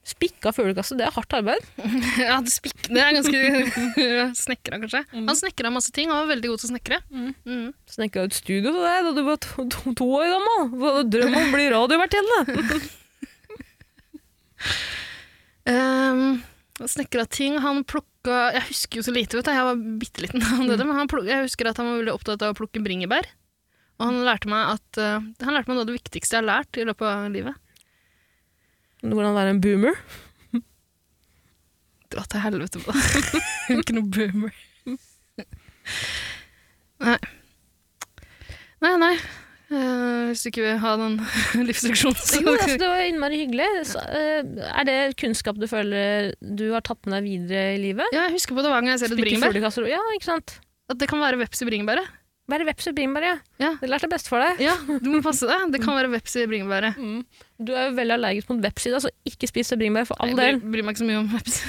Speaker 3: Spikka fuglekasse, det er hardt arbeid.
Speaker 2: Ja, det, spikk, det er ganske Snekra, kanskje.
Speaker 3: Mm.
Speaker 2: Han snekra masse ting. Han var veldig god til å snekre. Mm.
Speaker 3: Snekka ut studio til deg da du var to, to, to år gammel. Du hadde drøm om å bli radiovertinne.
Speaker 2: Um, snekra ting. Han plukka Jeg husker jo så lite, vet du. Jeg var bitte liten da
Speaker 3: Mm.
Speaker 2: han døde, men han pluk, jeg husker at han var veldig opptatt av å plukke bringebær. Og han lærte meg at eh, Han lærte meg noe av det viktigste jeg har lært i løpet av livet.
Speaker 3: Hvordan være en boomer.
Speaker 2: Dra til helvete på det. Ikke noe boomer. Nei. Nei, nei. Eh, hvis du ikke vil ha den livsreaksjonen, så
Speaker 3: Jo, altså, det var innmari hyggelig. Så, eh, er det kunnskap du føler du har tatt med deg videre i livet?
Speaker 2: Ja, jeg husker på det hver gang jeg ser et
Speaker 3: Spikke
Speaker 2: bringebær.
Speaker 3: fuglekasser, ja, ikke sant?
Speaker 2: At det kan være veps i bringebæret.
Speaker 3: Være veps og bringebær, ja.
Speaker 2: Ja.
Speaker 3: Det lærte jeg best for deg.
Speaker 2: Ja, du må passe deg. Det kan være veps i bringebæret.
Speaker 3: Mm. Du er jo veldig allergisk mot veps i dag, så ikke spis det bringebær for all
Speaker 2: Jeg
Speaker 3: del.
Speaker 2: bryr, bryr meg ikke så mye om veps.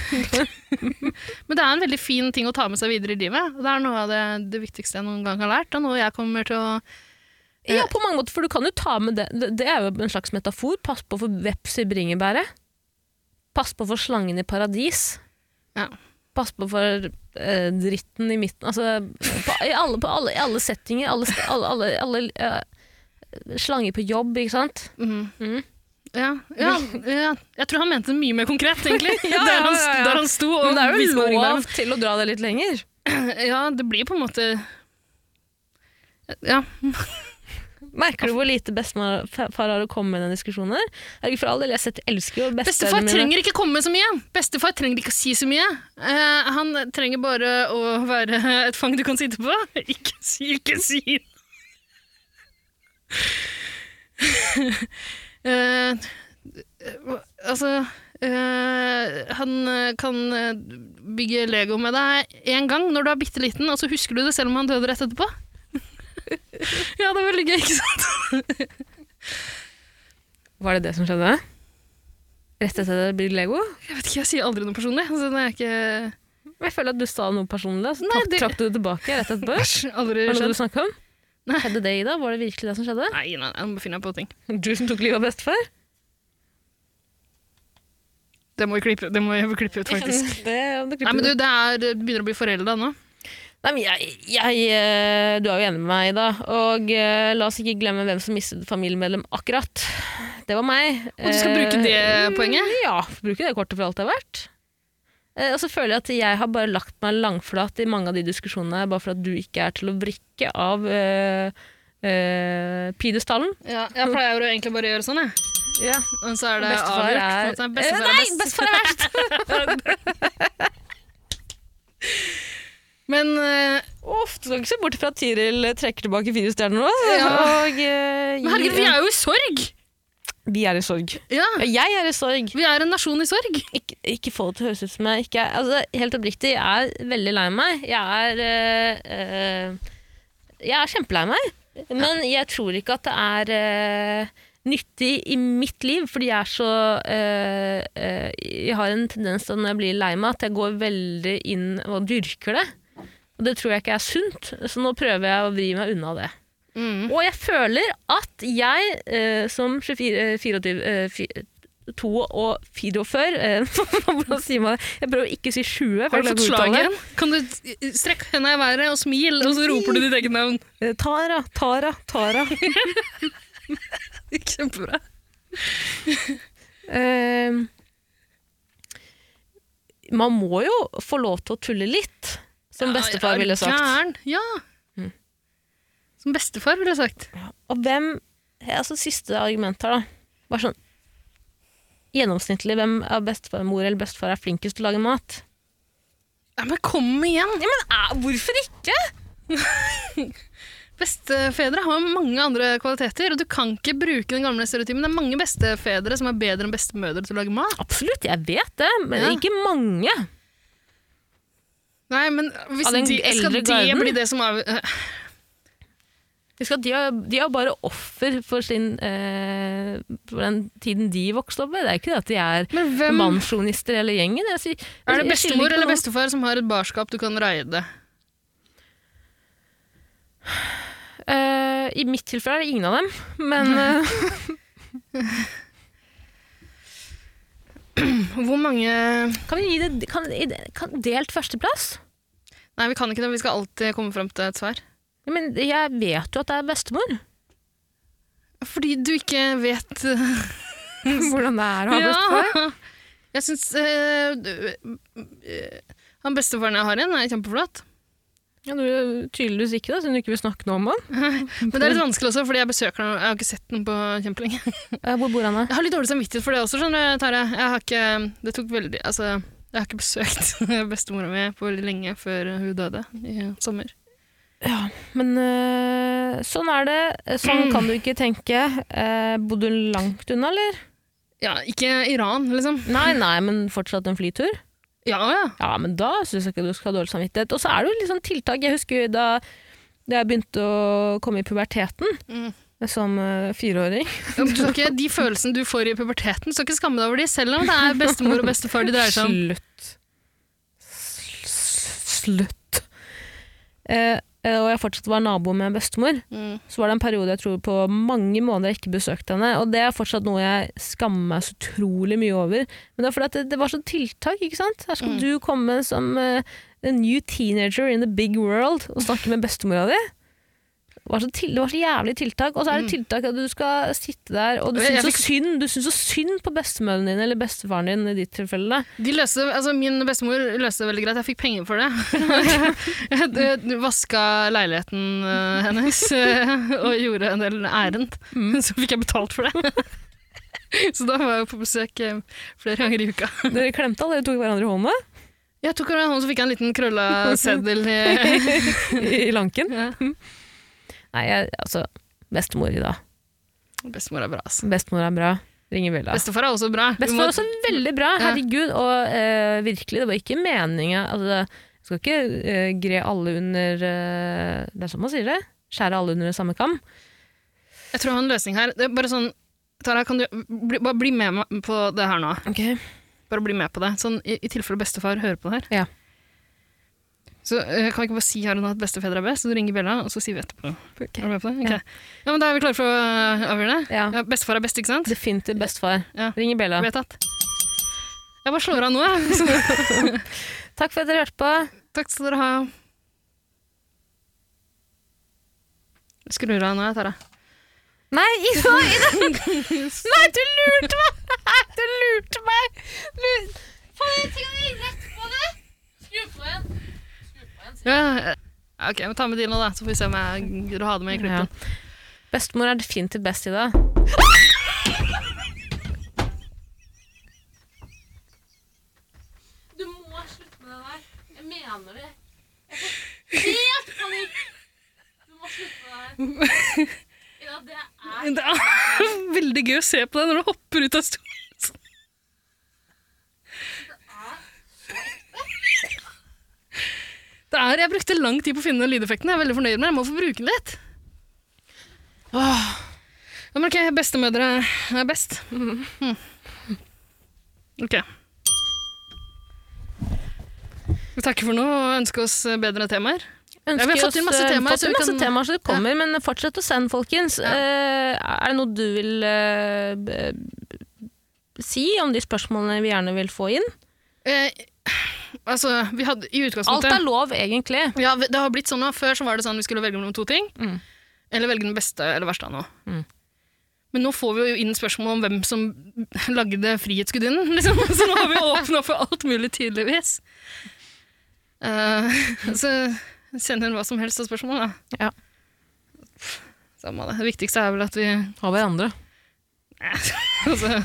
Speaker 2: Men det er en veldig fin ting å ta med seg videre i livet. og Det er noe av det, det viktigste jeg noen gang har lært, og noe jeg kommer til å
Speaker 3: Ja, på mange måter, for du kan jo ta med det. det- Det er jo en slags metafor. Pass på for veps i bringebæret. Pass på for slangen i paradis.
Speaker 2: Ja.
Speaker 3: Pass på for eh, dritten i midten. Altså, på, i, alle, på alle, i alle settinger. Alle, st- alle, alle, alle eh, Slanger på jobb, ikke sant?
Speaker 2: Mhm.
Speaker 3: Mhm.
Speaker 2: Ja, ja, ja. Jeg tror han mente det mye mer konkret, egentlig.
Speaker 3: Ja,
Speaker 2: der, han,
Speaker 3: ja, ja, ja.
Speaker 2: der han sto og viste med bringebæren.
Speaker 3: til å dra det litt lenger.
Speaker 2: Ja, det blir på en måte Ja.
Speaker 3: Merker du hvor lite bestemor fa- far har å komme med i den diskusjonen? her? Jeg, for all del, jeg setter, elsker jo
Speaker 2: Bestefar
Speaker 3: bestefedrene mine.
Speaker 2: trenger ikke komme så mye. Bestefar trenger ikke å si så mye. Eh, han trenger bare å være et fang du kan sitte på. Ikke si, ikke si! Eh, altså eh, Han eh, kan eh, bygge Lego med deg én gang når du er bitte liten, og så husker du det selv om han døde rett etterpå. ja, det er veldig gøy, ikke sant?
Speaker 3: Var det det som skjedde? Rett etter at det blir Lego?
Speaker 2: Jeg vet ikke, jeg sier aldri noe personlig. Så det er ikke...
Speaker 3: Jeg føler at du sa noe personlig, så
Speaker 2: Nei,
Speaker 3: trakk,
Speaker 2: det-
Speaker 3: trakk du det tilbake rett etterpå. Var
Speaker 2: Aldri
Speaker 3: det
Speaker 2: skjedd.
Speaker 3: noe du snakket om?
Speaker 2: Nei.
Speaker 3: Skjedde det, Ida? Var det virkelig det som skjedde?
Speaker 2: Nei, nei, nei, nå befinner jeg på ting.
Speaker 3: Du som tok livet av bestefar?
Speaker 2: Det må vi klippe, det må vi klippe ut, faktisk. Nei, men du, det, er, det begynner å bli forelda nå.
Speaker 3: Nei, men jeg, jeg, eh, du er jo enig med meg, Ida. Og eh, la oss ikke glemme hvem som mistet familiemedlem akkurat. Det var meg.
Speaker 2: Og du skal bruke det
Speaker 3: Eh,
Speaker 2: poenget?
Speaker 3: Ja, bruke det kortet for alt det er verdt. Eh, Og så føler jeg at jeg har bare lagt meg langflat i mange av de diskusjonene, her, bare for at du ikke er til å vrikke av eh, eh, pidestallen.
Speaker 2: Ja, jeg pleier jo egentlig bare å gjøre sånn, jeg. Og så er det
Speaker 3: Bestefar
Speaker 2: avgjort.
Speaker 3: er,
Speaker 2: på en måte.
Speaker 3: Eh,
Speaker 2: Bestefar
Speaker 3: Nei,
Speaker 2: er best.
Speaker 3: bestefar er verst!
Speaker 2: Men eh,
Speaker 3: Ofte skal ikke se bort fra at Tiril trekker tilbake fire stjerner nå.
Speaker 2: Ja.
Speaker 3: Og, eh,
Speaker 2: Men herregud,
Speaker 3: gir-
Speaker 2: vi er jo i sorg!
Speaker 3: vi er i sorg.
Speaker 2: Ja,
Speaker 3: Ja, Jeg er i sorg.
Speaker 2: Vi er en nasjon i sorg.
Speaker 3: Ikke, ikke få det til å høres ut som jeg ikke er altså, Helt oppriktig, jeg er veldig lei meg. Jeg er eh, eh, Jeg er kjempelei meg. Men jeg tror ikke at det er eh, nyttig i mitt liv, fordi jeg er så eh, eh, Jeg har en tendens til når jeg blir lei meg, at jeg går veldig inn og dyrker det. Og det tror jeg ikke er sunt, så nå prøver jeg å vri meg unna det.
Speaker 2: Mm.
Speaker 3: Og jeg føler at jeg eh, som 24, eh, 24 eh, fi- to og 44 før eh, Hvordan sier man det? Jeg prøver å ikke si 20. for
Speaker 2: Har du
Speaker 3: jeg klarer
Speaker 2: fått
Speaker 3: ikke å uttale det.
Speaker 2: slagen? Kan du strekke henda i været og smil, og så roper du ditt eget navn?
Speaker 3: Eh, Tara, Tara, Tara.
Speaker 2: Kjempebra.
Speaker 3: Eh, man må jo få lov til å tulle litt, som bestefar ville sagt.
Speaker 2: Gæren. Ja. Mm. Som bestefar ville sagt.
Speaker 3: Og hvem altså Siste argument her, da. Bare sånn Gjennomsnittlig, hvem av bestefar, mor eller bestefar er flinkest til å lage mat?
Speaker 2: Ja, eh, men kom igjen!
Speaker 3: Ja, men Hvorfor ikke?
Speaker 2: Bestefedre har jo mange andre kvaliteter, og du kan ikke bruke den gamle stereotypen. Det er mange bestefedre som er bedre enn bestemødre til å lage mat.
Speaker 3: Absolutt, jeg vet det, men
Speaker 2: Ja.
Speaker 3: ikke mange.
Speaker 2: Nei, men hvis
Speaker 3: Av den
Speaker 2: de, skal
Speaker 3: eldre
Speaker 2: det
Speaker 3: garden?
Speaker 2: bli det som av...
Speaker 3: Husk at de, er, de er bare offer for, sin, eh, for den tiden de vokste opp med. Det er ikke det at de er
Speaker 2: Men hvem
Speaker 3: mannsjonister hele gjengen. Jeg sier,
Speaker 2: Er det
Speaker 3: jeg skylder
Speaker 2: bestemor
Speaker 3: ikke på
Speaker 2: eller
Speaker 3: noen.
Speaker 2: bestefar som har et barskap du kan raide?
Speaker 3: Eh, I mitt tilfelle er det ingen av dem, men eh,
Speaker 2: Hvor mange
Speaker 3: kan vi gi det kan, i det- kan, delt førsteplass?
Speaker 2: Nei, vi kan ikke det. Vi skal alltid komme fram til et svar.
Speaker 3: Ja, Men jeg vet jo at det er bestemor.
Speaker 2: Fordi du ikke vet
Speaker 3: Hvordan det er å ha bestefar.
Speaker 2: Ja! Jeg syns eh, du- eh, Han bestefaren jeg har igjen, er kjempeflott.
Speaker 3: Ja, du er tydeligvis ikke det, siden du ikke vil snakke noe om han.
Speaker 2: Men det er litt vanskelig også, fordi jeg besøker ham. Jeg har ikke sett ham på kjempelenge.
Speaker 3: Eh, hvor bor han da?
Speaker 2: Jeg har litt dårlig samvittighet for det også, skjønner du, Tare. Jeg har ikke, det tok veldig, altså, jeg har ikke besøkt bestemora mi på veldig lenge før hun døde i sommer.
Speaker 3: Ja, men eh, sånn er det. Sånn kan du ikke tenke. Eh, bodde du langt unna, eller?
Speaker 2: Ja, ikke Iran, liksom.
Speaker 3: Nei, nei, men fortsatt en flytur.
Speaker 2: Ja, ja.
Speaker 3: Ja, men da syns jeg ikke du skal ha dårlig samvittighet. Og så er det jo liksom tiltak. Jeg husker da, da jeg begynte å komme i puberteten
Speaker 2: Mm.
Speaker 3: som eh, fireåring.
Speaker 2: Du skal ikke, de følelsene du får i puberteten, du skal ikke skamme deg over de, selv om det er bestemor og bestefar de dreier seg om.
Speaker 3: Slutt. S- Slutt. Eh, eh, og jeg fortsatt var nabo med bestemor.
Speaker 2: Mm.
Speaker 3: Så var det en periode jeg tror på mange måneder jeg ikke besøkte henne. Og det er fortsatt noe jeg skammer meg så utrolig mye over. Men det er fordi at det, det var sånn tiltak, ikke sant? Her skal
Speaker 2: Mm.
Speaker 3: du komme som eh, a new teenager in the big world og snakke med bestemora di. Det var, så til, det var så jævlig tiltak. Og så er det tiltak at du skal sitte der, og du
Speaker 2: Mm. Jeg- jeg
Speaker 3: syns så
Speaker 2: fikk-
Speaker 3: synd Du syns så synd på bestemødrene dine, eller bestefaren din i ditt tilfelle. da.
Speaker 2: De løste, altså min bestemor løste det veldig greit. Jeg fikk penger for det. Jeg d- vaska leiligheten eh, hennes eh, og gjorde en del ærend.
Speaker 3: Mm.
Speaker 2: Så fikk jeg betalt for det. Så da var jeg på besøk eh, flere ganger i uka.
Speaker 3: Dere klemte alle, dere tok hverandre i hånda
Speaker 2: Jeg tok henne i hånden, så fikk jeg en liten krølla seddel. i-
Speaker 3: i i lanken.
Speaker 2: Ja.
Speaker 3: Nei, jeg, altså Bestemor i dag.
Speaker 2: Bestemor er bra, altså.
Speaker 3: Bestemor er bra. Ringer bjella.
Speaker 2: Bestefar er også bra. Vi
Speaker 3: Bestefar
Speaker 2: må-
Speaker 3: er også veldig bra,
Speaker 2: Ja.
Speaker 3: herregud. Og eh, virkelig, det var ikke meninga altså, Jeg skal ikke eh, gre alle under eh, Det er sånn man sier det. Skjære alle under samme kam.
Speaker 2: Jeg tror jeg har en løsning her. Det er bare sånn, Tara, kan du bli, bare bli med meg på det her nå? Bare bli med på det. Sånn, I, i tilfelle bestefar hører på det her.
Speaker 3: Ja.
Speaker 2: Så eh, kan vi ikke bare si her og nå at bestefedre er best, så du ringer Bella, og så sier vi etterpå.
Speaker 3: Ok.
Speaker 2: Er du med på det? Ok.
Speaker 3: Ja.
Speaker 2: Ja. men da er vi klare for å eh, avgjøre det.
Speaker 3: Ja.
Speaker 2: Ja, bestefar er best, ikke sant?
Speaker 3: Definitivt bestefar.
Speaker 2: Ja.
Speaker 3: Ringer bjella.
Speaker 2: Vedtatt. Jeg bare slår av nå, jeg. Så,
Speaker 3: Takk for at dere hørte på.
Speaker 2: takk skal dere ha. Jeg Skrur av nå, jeg, Tara.
Speaker 3: Nei, Ida! Ida. Nei, du lurte meg! Nei, Du lurte meg! Lu-
Speaker 2: Ja, eh, ok, men ta med dine, da, så får vi se om jeg gidder å ha det med i klippen.
Speaker 3: Ja. Bestemor er definitivt best i dag. Du må slutte med det der. Jeg mener det. Jeg får helt
Speaker 2: gøy å se på deg når du hopper ut av stolen. Det er, jeg brukte lang tid på å finne den lydeffekten. Jeg er veldig fornøyd med den. Jeg må få bruke den litt. Ja, men ok, bestemødre er best. Mm. Ok. Vi takker for nå og ønsker oss bedre temaer.
Speaker 3: Ønsker
Speaker 2: Ja, vi har fått inn
Speaker 3: oss,
Speaker 2: masse
Speaker 3: eh,
Speaker 2: temaer,
Speaker 3: fått
Speaker 2: så
Speaker 3: inn
Speaker 2: vi
Speaker 3: masse
Speaker 2: kan-
Speaker 3: temaer, så det kommer, men fortsett å sende, folkens. Eh, er det noe du vil eh, b- si om de spørsmålene vi gjerne vil få inn?
Speaker 2: Eh, altså, vi hadde i
Speaker 3: Alt
Speaker 2: utgangspunktet
Speaker 3: er lov, egentlig.
Speaker 2: Ja, det har blitt sånn nå. Før så var det sånn vi skulle velge mellom to ting.
Speaker 3: Mm.
Speaker 2: Eller velge den beste eller verste av noe.
Speaker 3: Mm.
Speaker 2: Men nå får vi jo inn spørsmål om hvem som lagde Frihetsgudinnen. Liksom. Så nå har vi åpna for alt mulig, tydeligvis. Eh, så send inn hva som helst av spørsmål, da.
Speaker 3: Ja.
Speaker 2: Samme det. Det viktigste er vel at vi
Speaker 3: Av hverandre.
Speaker 2: altså,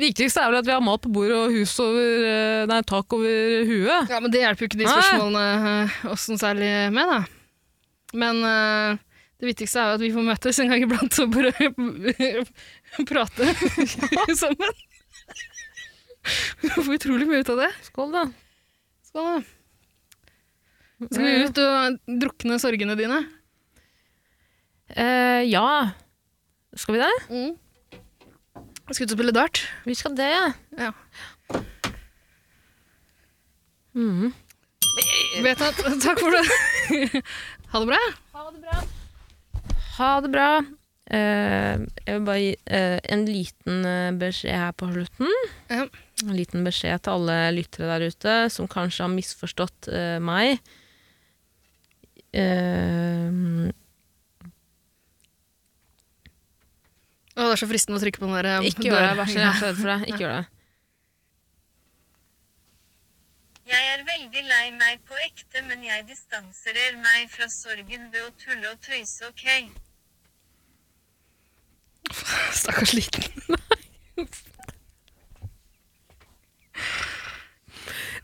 Speaker 3: Viktigst er vel at vi har mat på bordet og hus over, eh, nei, tak over huet.
Speaker 2: Ja, men det hjelper jo ikke de
Speaker 3: Nei.
Speaker 2: spørsmålene eh, oss noe særlig med, da. Men eh, det viktigste er jo at vi får møtes en gang iblant og bare prate sammen. Vi får utrolig mye ut av det.
Speaker 3: Skål, da.
Speaker 2: Skål, da. Skal vi ut og drukne sorgene dine?
Speaker 3: Eh, ja. Skal vi det?
Speaker 2: Mm. Skal ut og spille dart?
Speaker 3: Vi skal det, ja.
Speaker 2: Ja.
Speaker 3: Mhm.
Speaker 2: Vet at, takk for det. Ha det bra.
Speaker 3: Ha det bra. Eh, jeg vil bare gi eh, en liten eh, beskjed her på slutten.
Speaker 2: Ja.
Speaker 3: En liten beskjed til alle lyttere der ute som kanskje har misforstått eh, meg. Eh,
Speaker 2: Å, det er så fristende å trykke på den der. eh,
Speaker 3: ikke gjør det,
Speaker 2: døra.
Speaker 3: vær så snill. Jeg er så redd for deg. Ikke gjør det.
Speaker 4: Jeg er veldig lei meg på ekte, men jeg distanserer meg fra sorgen ved å tulle og tøyse, ok?
Speaker 2: Stakkars liten.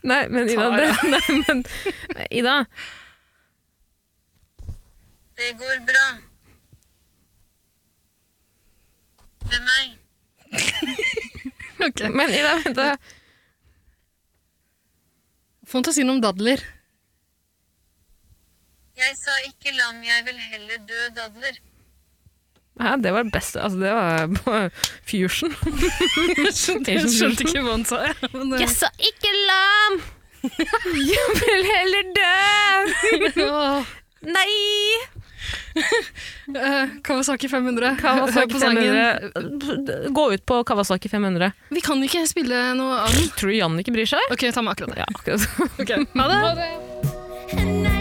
Speaker 3: Nei, men Ida, det, nei, men, Ida
Speaker 4: Det går bra. Med meg.
Speaker 2: Ok.
Speaker 3: men Ida, vent da.
Speaker 2: Fantasien om dadler.
Speaker 4: Jeg sa ikke lam, jeg vil heller dø, dadler.
Speaker 3: Hæ, det var det beste. Altså, det var på fusion.
Speaker 2: Jeg skjønte ikke hva han sa. jeg, Men, eh,
Speaker 3: sa ikke lam! Jeg vil heller dø!
Speaker 2: åh.
Speaker 3: Nei!
Speaker 2: Eh, Kawasaki 500. Hør
Speaker 3: Kawasaki
Speaker 2: på sangen.
Speaker 3: 500. Gå ut på Kawasaki 500.
Speaker 2: Vi kan ikke spille noe av den.
Speaker 3: Tror du Jannicke bryr seg?
Speaker 2: Ok, ta med akkurat det.
Speaker 3: Ja, akkurat.
Speaker 2: Ok, Ha det!
Speaker 7: And I